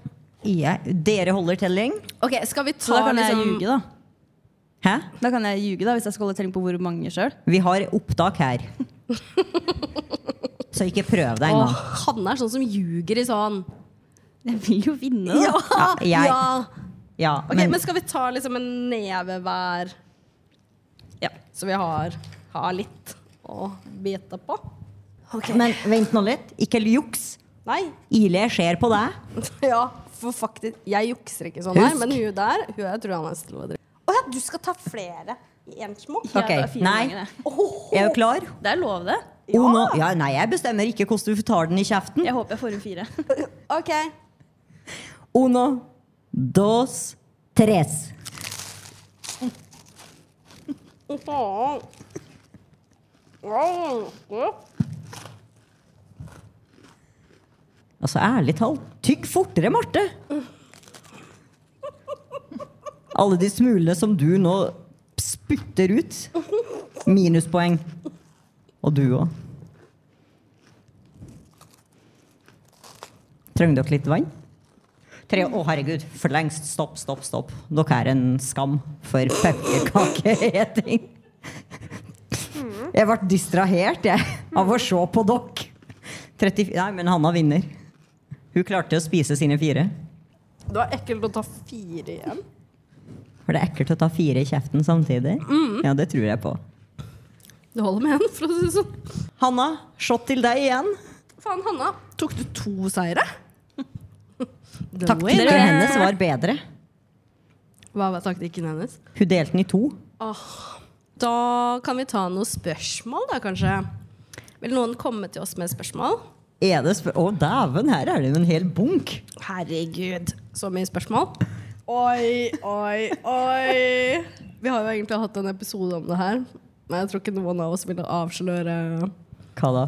[SPEAKER 3] ja. Dere holder telling?
[SPEAKER 2] Ok, Skal vi ta
[SPEAKER 4] Så da kan jeg
[SPEAKER 2] liksom
[SPEAKER 4] ljuge, da.
[SPEAKER 3] Hæ?
[SPEAKER 4] Da kan jeg ljuge da, hvis jeg skal holde telling på hvor mange sjøl.
[SPEAKER 3] Vi har opptak her. Så ikke prøv deg
[SPEAKER 2] Åh,
[SPEAKER 3] engang.
[SPEAKER 2] Hanne er sånn som ljuger i sånn.
[SPEAKER 4] Jeg vil jo vinne, da.
[SPEAKER 2] Ja!
[SPEAKER 3] Ja, jeg-
[SPEAKER 2] ja.
[SPEAKER 3] Ja,
[SPEAKER 2] Ok, men, skal vi ta liksom en neve hver?
[SPEAKER 4] Ja.
[SPEAKER 2] Så vi har, har litt å bite på.
[SPEAKER 3] Men vent nå litt. Ikke juks.
[SPEAKER 2] Nei.
[SPEAKER 3] Ile ser på deg.
[SPEAKER 2] Ja, for faktisk Jeg jukser ikke sånn her,
[SPEAKER 3] Husk.
[SPEAKER 2] men hun der hun jeg tror han er slo og Å ja, du skal ta flere i en smokk?
[SPEAKER 3] Ok,
[SPEAKER 4] Jeg tar fire
[SPEAKER 3] nei.
[SPEAKER 4] ganger, jeg.
[SPEAKER 3] Er du klar?
[SPEAKER 4] Det er lov, det.
[SPEAKER 3] Oh, nå- ja, nei, jeg bestemmer ikke hvordan du tar den i kjeften.
[SPEAKER 4] Jeg håper jeg får en fire.
[SPEAKER 2] OK.
[SPEAKER 3] Uno, dos, tres.
[SPEAKER 2] Mm.
[SPEAKER 3] Altså, ærlig talt, tygg fortere, Marte! Alle de smulene som du nå spytter ut. Minuspoeng. Og du òg. Trenger dere litt vann? Tre, å herregud, for lengst. Stopp, stopp, stopp. Dere er en skam for pepperkakeeting. Jeg ble distrahert jeg, av å se på dere. 34 Nei, men Hanna vinner. Hun klarte å spise sine fire.
[SPEAKER 2] Det var ekkelt å ta fire igjen.
[SPEAKER 3] For det er ekkelt å ta fire i kjeften samtidig. Ja, det tror jeg på.
[SPEAKER 2] Det holder med en, for å si det sånn.
[SPEAKER 3] Hanna, shot til deg igjen.
[SPEAKER 2] Faen, Hanna. Tok du to seire?
[SPEAKER 3] Taktikken hennes var bedre.
[SPEAKER 2] Hva var taktikken hennes?
[SPEAKER 3] Hun delte den i to.
[SPEAKER 2] Da kan vi ta noen spørsmål, da, kanskje. Vil noen komme til oss med spørsmål?
[SPEAKER 3] Er det spør Å, dæven, her er det jo en hel bunk.
[SPEAKER 2] Herregud, så mye spørsmål. Oi, oi, oi. Vi har jo egentlig hatt en episode om det her, men jeg tror ikke noen av oss ville avsløre
[SPEAKER 3] Hva da?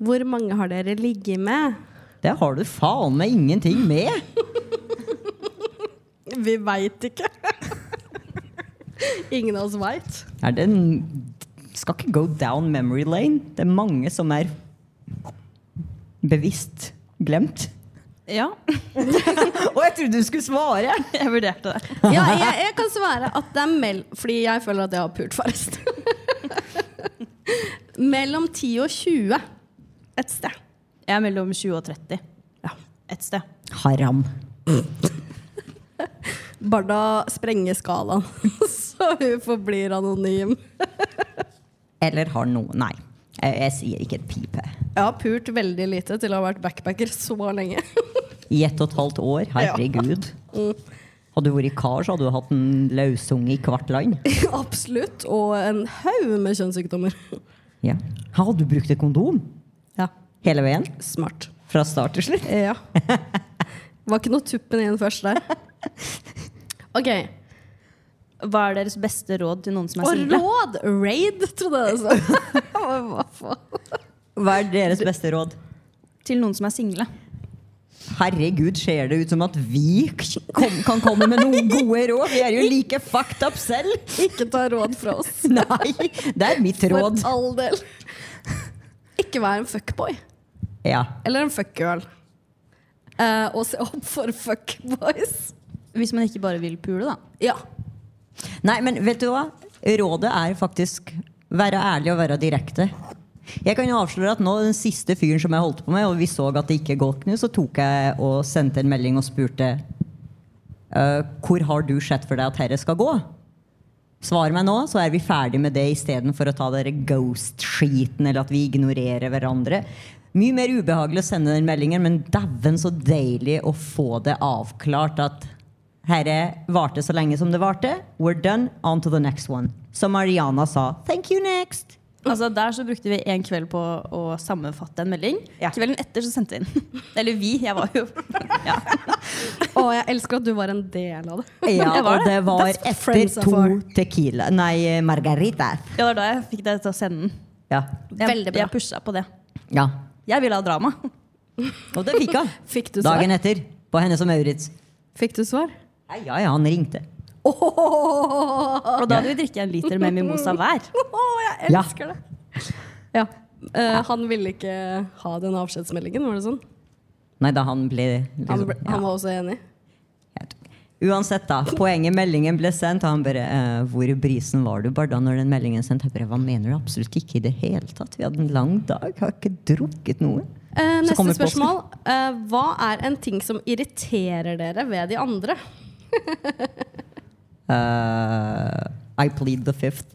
[SPEAKER 2] Hvor mange har dere ligget med?
[SPEAKER 3] Det har du faen meg ingenting med!
[SPEAKER 2] Vi veit ikke. Ingen av oss veit.
[SPEAKER 3] Er det en, skal ikke go down memory lane. Det er mange som er bevisst glemt.
[SPEAKER 4] Ja,
[SPEAKER 3] Å, jeg trodde du skulle svare!
[SPEAKER 4] jeg vurderte det.
[SPEAKER 2] Ja, jeg, jeg kan svare at det er mell... Fordi jeg føler at jeg har pult farest. Mellom 10 og 20 et sted.
[SPEAKER 4] Jeg er mellom 20 og 30. Ja, et sted.
[SPEAKER 3] Haram.
[SPEAKER 2] Barda sprenger skalaen, så hun forblir anonym.
[SPEAKER 3] Eller har noe Nei, jeg, jeg sier ikke et pipe.
[SPEAKER 2] Jeg har pult veldig lite til å ha vært backpacker så lenge.
[SPEAKER 3] I ett og et halvt år. Herregud. Hadde du vært kar, så hadde du hatt en løsunge i hvert land.
[SPEAKER 2] Absolutt. Og en haug med kjønnssykdommer.
[SPEAKER 3] Ja. Hadde du brukt et kondom
[SPEAKER 2] Ja.
[SPEAKER 3] hele veien?
[SPEAKER 2] Smart.
[SPEAKER 3] Fra start til slutt?
[SPEAKER 2] Ja. Var ikke noe tuppen inn først der. Ok.
[SPEAKER 4] Hva er deres beste råd til noen som er
[SPEAKER 2] Og
[SPEAKER 4] single?
[SPEAKER 2] råd! Raid, trodde jeg det sa. Hva faen?
[SPEAKER 3] Hva er deres beste råd?
[SPEAKER 4] Til noen som er single.
[SPEAKER 3] Herregud, ser det ut som at vi kom, kan komme med noen gode råd? Vi er jo like fucked up selv!
[SPEAKER 2] Ikke ta råd fra oss.
[SPEAKER 3] Nei, det er mitt råd.
[SPEAKER 2] For all del. Ikke vær en fuckboy.
[SPEAKER 3] Ja.
[SPEAKER 2] Eller en fuckgirl. Eh, og se opp for fuckboys.
[SPEAKER 4] Hvis man ikke bare vil pule, da.
[SPEAKER 2] Ja.
[SPEAKER 3] Nei, men vet du hva? Rådet er faktisk være ærlig og være direkte. Jeg kan jo avsløre at nå den siste fyren som jeg holdt på med, og vi så at det ikke gikk nå, så tok jeg og sendte en melding og spurte «Øh, hvor har du sett for deg at dette skal gå? Svar meg nå, så er vi ferdig med det istedenfor å ta dere ghost-skiten eller at vi ignorerer hverandre. Mye mer ubehagelig å sende den meldingen, men dæven så deilig å få det avklart at herre varte så lenge som det varte. We're done, on to the next one. Som Ariana sa. Thank you, next!
[SPEAKER 4] Altså Der så brukte vi en kveld på å sammenfatte en melding.
[SPEAKER 3] Ja.
[SPEAKER 4] Kvelden etter så sendte vi den. Eller vi. Jeg var jo ja.
[SPEAKER 2] Å, jeg elsker at du var en del av det.
[SPEAKER 3] Ja,
[SPEAKER 4] Det var
[SPEAKER 3] og det
[SPEAKER 4] det.
[SPEAKER 3] var
[SPEAKER 2] That's what friends altså.
[SPEAKER 3] etter
[SPEAKER 2] are
[SPEAKER 3] to
[SPEAKER 2] for.
[SPEAKER 3] tequila Nei, margarita.
[SPEAKER 4] ja, det var da jeg fikk deg til å sende den.
[SPEAKER 3] Ja.
[SPEAKER 4] Jeg,
[SPEAKER 2] Veldig bra.
[SPEAKER 4] Jeg pusha på det.
[SPEAKER 3] ja.
[SPEAKER 4] Jeg ville ha drama.
[SPEAKER 3] Og det fikk hun.
[SPEAKER 2] Fikk du svar?
[SPEAKER 3] Dagen e- etter. På henne som Maurits.
[SPEAKER 2] Fikk du svar?
[SPEAKER 3] Ja, ja, ja, han ringte.
[SPEAKER 2] Åh,
[SPEAKER 4] Og da hadde vi drikket en liter med mimosa hver.
[SPEAKER 2] jeg
[SPEAKER 3] Ja.
[SPEAKER 2] elsker det! Ja. eh, han ville ikke ha den avskjedsmeldingen, var det sånn?
[SPEAKER 3] Nei, da han ble liksom,
[SPEAKER 2] Han, ble,
[SPEAKER 3] ja.
[SPEAKER 2] han var også enig.
[SPEAKER 3] Jeg vet ikke. Uansett, da. Poenget meldingen ble sendt, og han bare eh, 'Hvor i brisen var du bare da når den meldingen er sendt?' Jeg bare 'Hva mener du? Absolutt ikke i det hele tatt. Vi hadde en lang dag. Har ikke drukket noe.'
[SPEAKER 2] Eh,
[SPEAKER 3] Så kommer
[SPEAKER 2] neste spørsmål. Eh, hva er en ting som irriterer dere ved de andre?
[SPEAKER 3] Eh, I plead the fifth.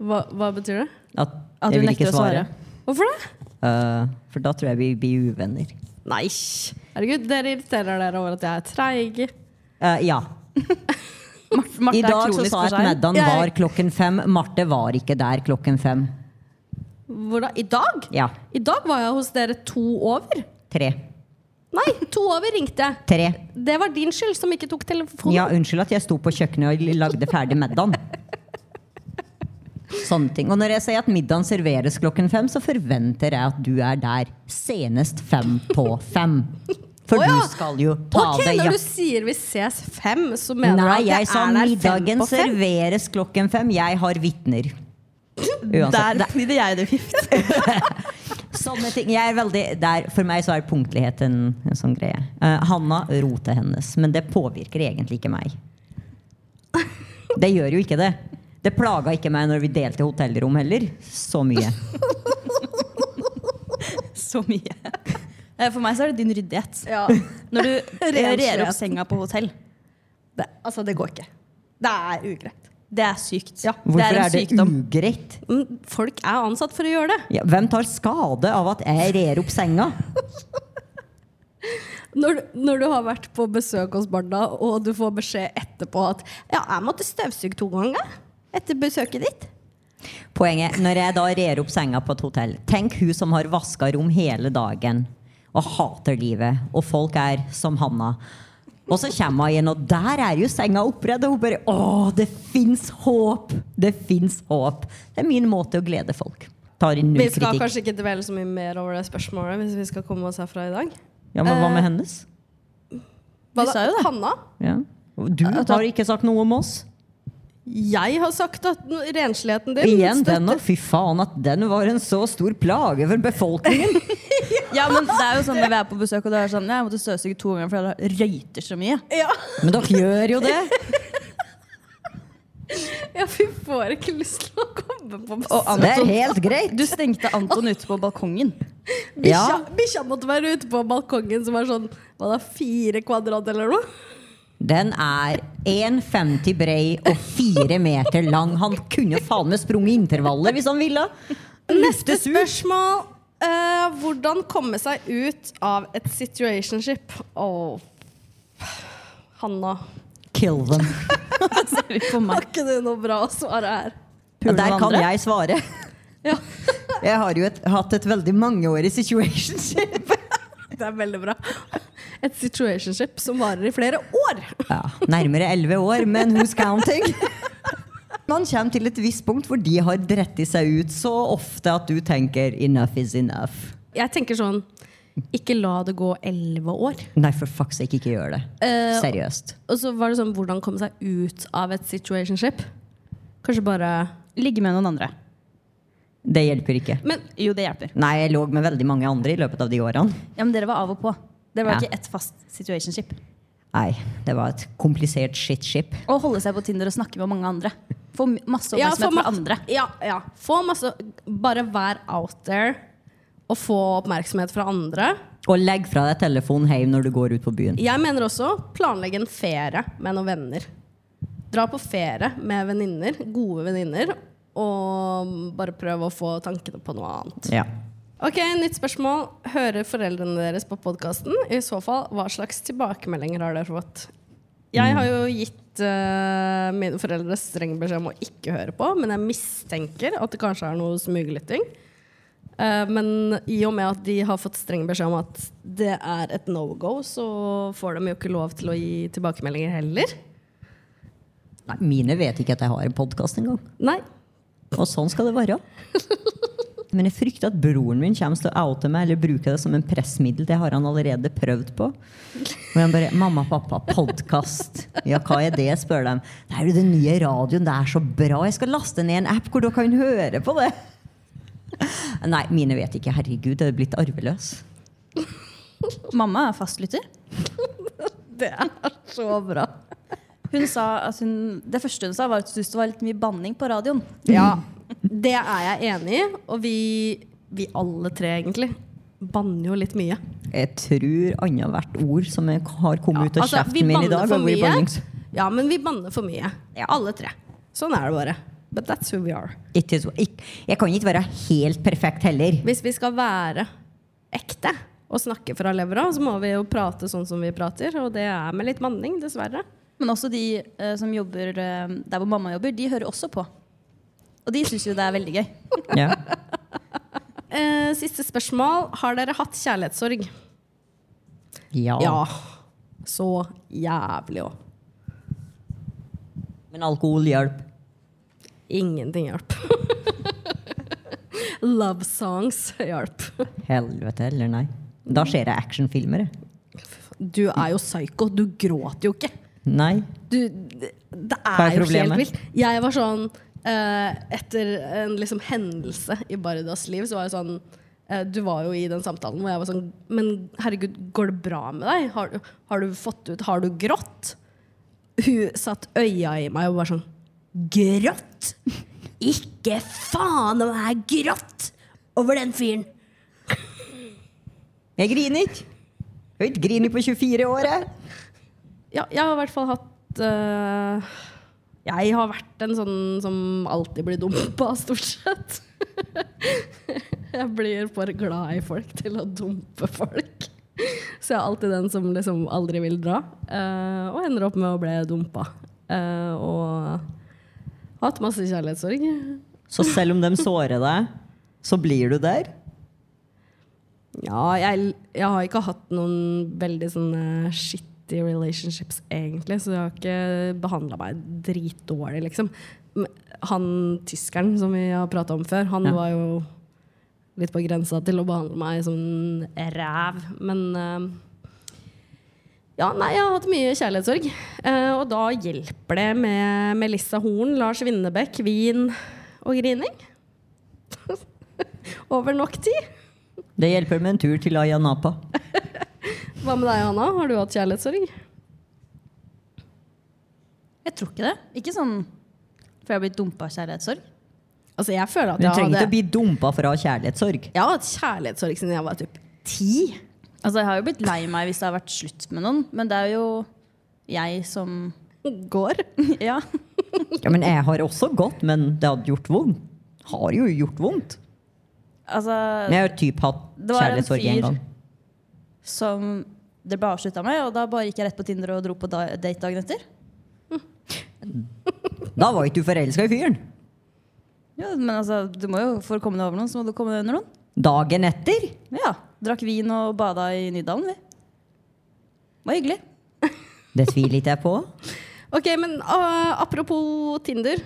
[SPEAKER 2] Hva, hva betyr det?
[SPEAKER 3] At,
[SPEAKER 4] At
[SPEAKER 3] jeg
[SPEAKER 4] du
[SPEAKER 3] vil ikke
[SPEAKER 4] nekter å svare.
[SPEAKER 3] svare.
[SPEAKER 2] Hvorfor det?
[SPEAKER 3] Eh, for da tror jeg vi blir uvenner.
[SPEAKER 2] Nei. Herregud, dere irriterer dere over at jeg er treig.
[SPEAKER 3] Eh, ja.
[SPEAKER 4] Marte, Marte
[SPEAKER 3] I
[SPEAKER 4] er
[SPEAKER 3] dag så
[SPEAKER 4] kronisk
[SPEAKER 3] sa jeg
[SPEAKER 4] for
[SPEAKER 3] at
[SPEAKER 4] seg.
[SPEAKER 3] middagen
[SPEAKER 2] Jeg-
[SPEAKER 3] var klokken fem. Marte var ikke der klokken fem.
[SPEAKER 2] Hvor da? I dag?
[SPEAKER 3] Ja.
[SPEAKER 2] I dag var jeg hos dere to over.
[SPEAKER 3] Tre.
[SPEAKER 2] Nei, to over ringte jeg.
[SPEAKER 3] Tre.
[SPEAKER 2] Det var din skyld som ikke tok telefonen.
[SPEAKER 3] Ja, unnskyld at jeg sto på kjøkkenet og lagde ferdig middagen. Sånne ting. Og når jeg sier at middagen serveres klokken fem, så forventer jeg at du er der senest fem på fem. For
[SPEAKER 2] Å ja.
[SPEAKER 3] du skal jo ta
[SPEAKER 2] ok,
[SPEAKER 3] av deg
[SPEAKER 2] når du
[SPEAKER 3] jakka.
[SPEAKER 2] sier vi ses fem, så mener
[SPEAKER 3] Nei,
[SPEAKER 2] du at
[SPEAKER 3] jeg
[SPEAKER 2] jeg
[SPEAKER 3] sa
[SPEAKER 2] er der fem
[SPEAKER 3] middagen
[SPEAKER 2] på fem?
[SPEAKER 3] serveres klokken fem. Jeg har vitner.
[SPEAKER 4] Der
[SPEAKER 3] Uansett.
[SPEAKER 4] knidde jeg det fift.
[SPEAKER 3] Sånne ting. Jeg er veldig, der, for meg så er punktlighet en, en sånn greie. Eh, Hanna rotet hennes, men det påvirker egentlig ikke meg. Det gjør jo ikke det. Det plaga ikke meg når vi delte hotellrom heller. Så mye.
[SPEAKER 4] Så mye. Eh, For meg så er det din ryddighet.
[SPEAKER 2] Ja,
[SPEAKER 4] Når du eh,
[SPEAKER 2] Renslighet.
[SPEAKER 4] rer opp senga på hotell.
[SPEAKER 2] det, altså det går ikke. Det er ugreit.
[SPEAKER 4] Det er sykt. det
[SPEAKER 3] Hvorfor
[SPEAKER 4] er en
[SPEAKER 3] er det,
[SPEAKER 4] sykdom.
[SPEAKER 3] ugreit?
[SPEAKER 2] Men Folk er ansatt for å gjøre det.
[SPEAKER 3] Ja, hvem tar skade av at jeg rer opp senga?
[SPEAKER 2] Når, du- når du har vært på besøk hos barna, og du får beskjed etterpå at ja, jeg måtte støvsuge to ganger etter besøket ditt.
[SPEAKER 3] Poenget, når jeg da rer opp senga på et hotell Tenk hun som har vaska rom hele dagen og hater livet, og folk er som Hanna. Og så kommer hun igjen, og der er jo senga oppredd. Og hun bare Å, det fins håp! Det fins håp. Det er min måte å glede folk. Tar inn
[SPEAKER 2] Vi
[SPEAKER 3] null
[SPEAKER 2] skal
[SPEAKER 3] kritikk.
[SPEAKER 2] kanskje ikke dvele så mye mer over det spørsmålet hvis vi skal komme oss herfra i dag.
[SPEAKER 3] Ja, men
[SPEAKER 2] eh,
[SPEAKER 3] hva med hennes?
[SPEAKER 2] Hva
[SPEAKER 4] sa jo det.
[SPEAKER 2] Hanna?
[SPEAKER 3] Ja. Du
[SPEAKER 2] eh,
[SPEAKER 3] har ikke sagt noe om oss.
[SPEAKER 2] Jeg har sagt at n- rensligheten din
[SPEAKER 3] Igjen
[SPEAKER 2] støtter-
[SPEAKER 3] den, og fy faen at den var en så stor plage for befolkningen.
[SPEAKER 4] Ja, men det er jo sånn når vi er på besøk og det er sånn «Nei, Jeg måtte støvsuge to ganger fordi det røyter så mye.
[SPEAKER 2] Ja,
[SPEAKER 3] Men dere gjør jo det.
[SPEAKER 2] ja, vi får ikke lyst til å komme på besøk.
[SPEAKER 4] Og
[SPEAKER 3] Det er
[SPEAKER 4] Anton,
[SPEAKER 3] helt greit.
[SPEAKER 4] du stengte Anton ute på balkongen.
[SPEAKER 3] Ja.
[SPEAKER 2] Bikkja bikkja måtte være ute på balkongen, som var sånn hva da, fire kvadrat eller noe.
[SPEAKER 3] Den er 1,50 brei og 4 meter lang. Han kunne jo faen meg sprunget intervaller hvis han ville.
[SPEAKER 2] Neste spørsmål. eh, hvordan komme seg ut av et situationship? Åh Hanna,
[SPEAKER 3] Kill them.
[SPEAKER 4] Ser vi på
[SPEAKER 2] har
[SPEAKER 4] meg.
[SPEAKER 2] ikke du noe bra å svare her?
[SPEAKER 3] Ja, der
[SPEAKER 4] Pule
[SPEAKER 3] kan
[SPEAKER 4] hverandre?
[SPEAKER 3] jeg svare.
[SPEAKER 2] Ja.
[SPEAKER 3] Jeg har jo et, hatt et veldig mangeårig situationship.
[SPEAKER 2] Det er veldig bra. Et situationship som varer i flere år.
[SPEAKER 3] Ja, nærmere 11 år, men who's counting? Man kommer til et visst punkt hvor de har dretti seg ut så ofte at du tenker enough is enough.
[SPEAKER 2] Jeg tenker sånn Ikke la det gå elleve år.
[SPEAKER 3] Nei, for fuck's sake, ikke gjør det.
[SPEAKER 2] Eh,
[SPEAKER 3] Seriøst.
[SPEAKER 2] Og så var det sånn hvordan komme seg ut av et situationship? Kanskje bare
[SPEAKER 4] Ligge med noen andre.
[SPEAKER 3] Det hjelper ikke.
[SPEAKER 2] Men
[SPEAKER 4] Jo, det hjelper.
[SPEAKER 3] Nei, jeg lå med veldig mange andre i løpet av de årene.
[SPEAKER 4] Ja, Men dere var av og på. Det var
[SPEAKER 3] Ja.
[SPEAKER 4] ikke ett fast situationship.
[SPEAKER 3] Nei, det var et komplisert shitship.
[SPEAKER 4] Å holde seg på Tinder og snakke med mange andre. Få m- masse
[SPEAKER 2] Ja, få
[SPEAKER 4] oppmerksomhet fra
[SPEAKER 2] ma-
[SPEAKER 4] andre.
[SPEAKER 2] Ja, ja. Få masse Bare vær out there og få oppmerksomhet fra andre.
[SPEAKER 3] Og legg fra deg telefonen hjem når du går ut på byen.
[SPEAKER 2] Jeg mener også planlegge en ferie med noen venner. Dra på ferie med venninner, gode venninner, og bare prøve å få tankene på noe annet.
[SPEAKER 3] Ja.
[SPEAKER 2] Ok, Nytt spørsmål. Hører foreldrene deres på podkasten? I så fall, hva slags tilbakemeldinger har dere fått? Jeg har jo gitt eh, mine foreldre streng beskjed om å ikke høre på, men jeg mistenker at det kanskje er noe smuglytting. Eh, men i og med at de har fått streng beskjed om at det er et no go, så får de jo ikke lov til å gi tilbakemeldinger heller.
[SPEAKER 3] Nei, mine vet ikke at jeg har en podkast engang.
[SPEAKER 2] Nei.
[SPEAKER 3] Og sånn skal det være. Men jeg frykter at broren min kommer til å oute meg eller bruke det som en pressmiddel. Det har han allerede prøvd på. Og han bare 'Mamma, pappa, podkast'. Ja, hva er det? spør de. Det er jo den nye radioen. Det er så bra. Jeg skal laste ned en app hvor dere kan høre på det. Nei, mine vet ikke. Herregud, jeg er blitt arveløs.
[SPEAKER 4] Mamma er fastlytter.
[SPEAKER 2] Det er så bra.
[SPEAKER 4] Hun sa at hun, det første hun sa, var at hun syntes det var litt mye banning på radioen.
[SPEAKER 2] Ja, det er jeg enig i. Og vi, vi alle tre, egentlig, banner jo litt mye.
[SPEAKER 3] Jeg tror annethvert ord som jeg har kommet ut av
[SPEAKER 2] Altså, vi
[SPEAKER 3] kjeften min i
[SPEAKER 2] banner
[SPEAKER 3] dag.
[SPEAKER 2] for
[SPEAKER 3] har vært
[SPEAKER 2] mye.
[SPEAKER 3] bannings.
[SPEAKER 2] Ja, men vi banner for mye.
[SPEAKER 3] Ja.
[SPEAKER 2] Alle tre. Sånn er det bare. But that's who we are.
[SPEAKER 3] It is, ik- jeg kan ikke være helt perfekt heller.
[SPEAKER 2] Hvis vi skal være ekte og snakke fra levra, så må vi jo prate sånn som vi prater. Og det er med litt manning, dessverre.
[SPEAKER 4] Men også de eh, som jobber eh, der hvor mamma jobber, de hører også på. Og de syns jo det er veldig gøy.
[SPEAKER 3] Ja.
[SPEAKER 2] Eh, siste spørsmål. Har dere hatt kjærlighetssorg?
[SPEAKER 3] Ja.
[SPEAKER 2] Så jævlig òg.
[SPEAKER 3] Men alkohol hjelper.
[SPEAKER 2] Ingenting hjalp. Love songs hjalp.
[SPEAKER 3] Helvete eller nei. Da ser jeg actionfilmer. jeg.
[SPEAKER 2] Du er jo psyko. Du gråter jo ikke.
[SPEAKER 3] Nei.
[SPEAKER 2] Du, det det
[SPEAKER 3] Hva
[SPEAKER 2] er,
[SPEAKER 3] er
[SPEAKER 2] jo
[SPEAKER 3] problemet?
[SPEAKER 2] helt vilt. Jeg var sånn eh, Etter en liksom hendelse i Bardas liv, så var jeg sånn eh, Du var jo i den samtalen hvor jeg var sånn Men herregud, går det bra med deg? Har, du- har du fått ut Har du grått? Hun satt øya i meg og var sånn Grått? Ikke faen om jeg er grått over den fyren!
[SPEAKER 3] Jeg griner ikke. Jeg har ikke griner på 24 år, jeg.
[SPEAKER 2] Ja, jeg har i hvert fall hatt øh, Jeg har vært en sånn som alltid blir dumpa, stort sett. jeg blir for glad i folk til å dumpe folk. Så jeg er alltid den som liksom aldri vil dra, øh, og ender opp med å bli dumpa. Eh, og har hatt masse kjærlighetssorg.
[SPEAKER 3] Så selv om de sårer deg, så blir du der?
[SPEAKER 2] Ja, jeg, jeg har ikke hatt noen veldig sånne shitty relationships, egentlig, så jeg har ikke behandla meg dritdårlig, liksom. Men Han tyskeren som vi har prata om før, han
[SPEAKER 3] Ja.
[SPEAKER 2] var jo litt på grensa til å behandle meg som en ræv, men eh, ja, nei, jeg har hatt mye kjærlighetssorg. Eh, og da hjelper det med Melissa Horn, Lars Winnebekk, vin og grining. Over nok tid.
[SPEAKER 3] Det hjelper med en tur til Ayia Napa.
[SPEAKER 2] Hva med deg, Hanna? Har du hatt kjærlighetssorg?
[SPEAKER 4] Jeg tror ikke det. Ikke sånn for jeg har blitt dumpa av kjærlighetssorg.
[SPEAKER 2] Altså, jeg føler at
[SPEAKER 3] Du
[SPEAKER 2] jeg
[SPEAKER 3] trenger
[SPEAKER 2] hadde
[SPEAKER 3] ikke å bli dumpa for å ha kjærlighetssorg.
[SPEAKER 2] Jeg har hatt kjærlighetssorg siden jeg var typ ti.
[SPEAKER 4] Altså, jeg har jo blitt lei meg hvis det har vært slutt med noen, men det er jo jeg som
[SPEAKER 2] Går.
[SPEAKER 4] Ja.
[SPEAKER 3] Ja, men jeg har også gått, men det hadde gjort vondt. Har jo gjort vondt. Men
[SPEAKER 4] Altså,
[SPEAKER 3] jeg har typ hatt
[SPEAKER 4] Det var en
[SPEAKER 3] kjærlighetssorg
[SPEAKER 4] fyr-
[SPEAKER 3] en gang.
[SPEAKER 4] som det ble avslutta med, og da bare gikk jeg rett på Tinder og dro på da- date dagen etter.
[SPEAKER 3] Da var ikke du forelska i fyren.
[SPEAKER 4] Ja, men altså, du må jo, for å komme deg over noen, så må du komme deg under noen.
[SPEAKER 3] Dagen etter.
[SPEAKER 4] Ja, Drakk vin og bada i Nydalen, vi. Det var hyggelig.
[SPEAKER 3] Det tviler ikke jeg på.
[SPEAKER 2] Ok, men ah, apropos Tinder.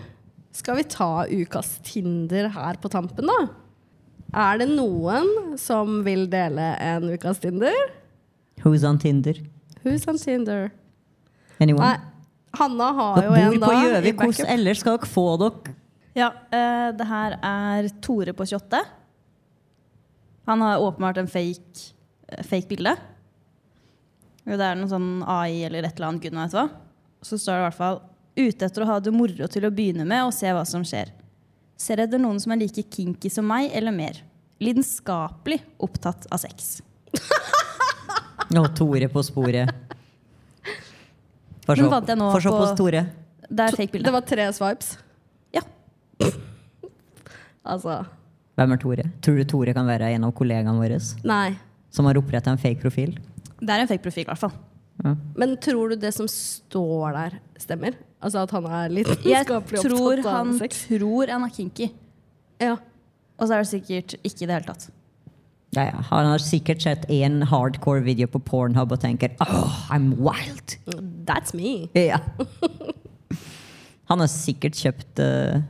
[SPEAKER 2] Skal vi ta ukas Tinder her på tampen, da? Er det noen som vil dele en ukas Tinder?
[SPEAKER 3] Who's on Tinder?
[SPEAKER 2] Who's on Tinder? Nei,
[SPEAKER 3] Anyone?
[SPEAKER 2] Hanna har
[SPEAKER 3] Dere
[SPEAKER 2] jo en,
[SPEAKER 3] bor
[SPEAKER 2] da.
[SPEAKER 3] på
[SPEAKER 2] i
[SPEAKER 3] Gjøvik.
[SPEAKER 2] backup.
[SPEAKER 3] Hvordan ellers skal dere få dere
[SPEAKER 4] Ja, eh, det her er Tore på 28. Han har åpenbart en fake, eh, fake bilde. Jo, Det er noe sånn AI eller et eller annet, gud vet hva. Så står det i hvert fall ute etter å ha det moro til å begynne med og se hva som skjer. Ser etter noen som er like kinky som meg eller mer. Lidenskapelig opptatt av sex.
[SPEAKER 3] Å, Tore på sporet. Få
[SPEAKER 4] Den
[SPEAKER 3] se
[SPEAKER 4] fant jeg nå
[SPEAKER 3] få se på
[SPEAKER 4] på-
[SPEAKER 3] Tore.
[SPEAKER 4] Det er fake
[SPEAKER 2] Det
[SPEAKER 4] bilde.
[SPEAKER 2] var tre swipes.
[SPEAKER 4] Ja.
[SPEAKER 2] Altså
[SPEAKER 3] Hvem er Tore? Tror du Tore kan være en av kollegaene våre
[SPEAKER 2] Nei.
[SPEAKER 3] som har oppretta en fake profil?
[SPEAKER 4] Det er en fake profil, i hvert fall.
[SPEAKER 2] Men tror du det som står der, stemmer? Altså at han er litt
[SPEAKER 4] Jeg
[SPEAKER 2] skapelig
[SPEAKER 4] tror
[SPEAKER 2] opptatt av
[SPEAKER 4] han
[SPEAKER 2] sex?
[SPEAKER 4] tror han er kinky.
[SPEAKER 2] Ja.
[SPEAKER 4] Og så er det sikkert ikke i det hele tatt.
[SPEAKER 3] Ja, ja. Han har sikkert sett én hardcore video på Pornhub og tenker «Åh, I'm wild.
[SPEAKER 2] That's me.
[SPEAKER 3] Ja. Han har sikkert kjøpt eh,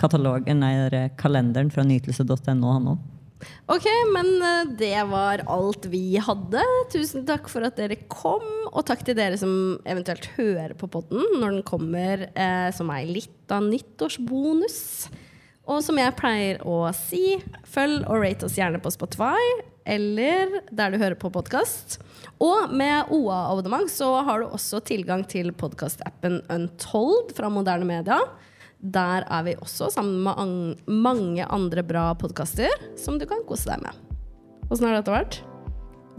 [SPEAKER 3] katalogen, nei, eh, kalenderen fra nytelse.no, han òg.
[SPEAKER 2] Ok, men eh, det var alt vi hadde. Tusen takk for at dere kom, og takk til dere som eventuelt hører på podden når den kommer eh, som ei lita nyttårsbonus. Og som jeg pleier å si, følg og rate oss gjerne på Spotify eller der du hører på podkast. Og med OA-abonnement så har du også tilgang til podkastappen Untold fra Moderne Media. Der er vi også sammen med ang- mange andre bra podkaster som du kan kose deg med. Åssen har dette vært?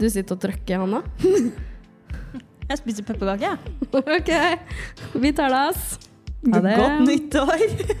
[SPEAKER 2] Du sitter og trykker, Hanna.
[SPEAKER 4] Jeg spiser pepperkake, jeg.
[SPEAKER 2] ok, vi tar det, ass.
[SPEAKER 3] Godt nyttår!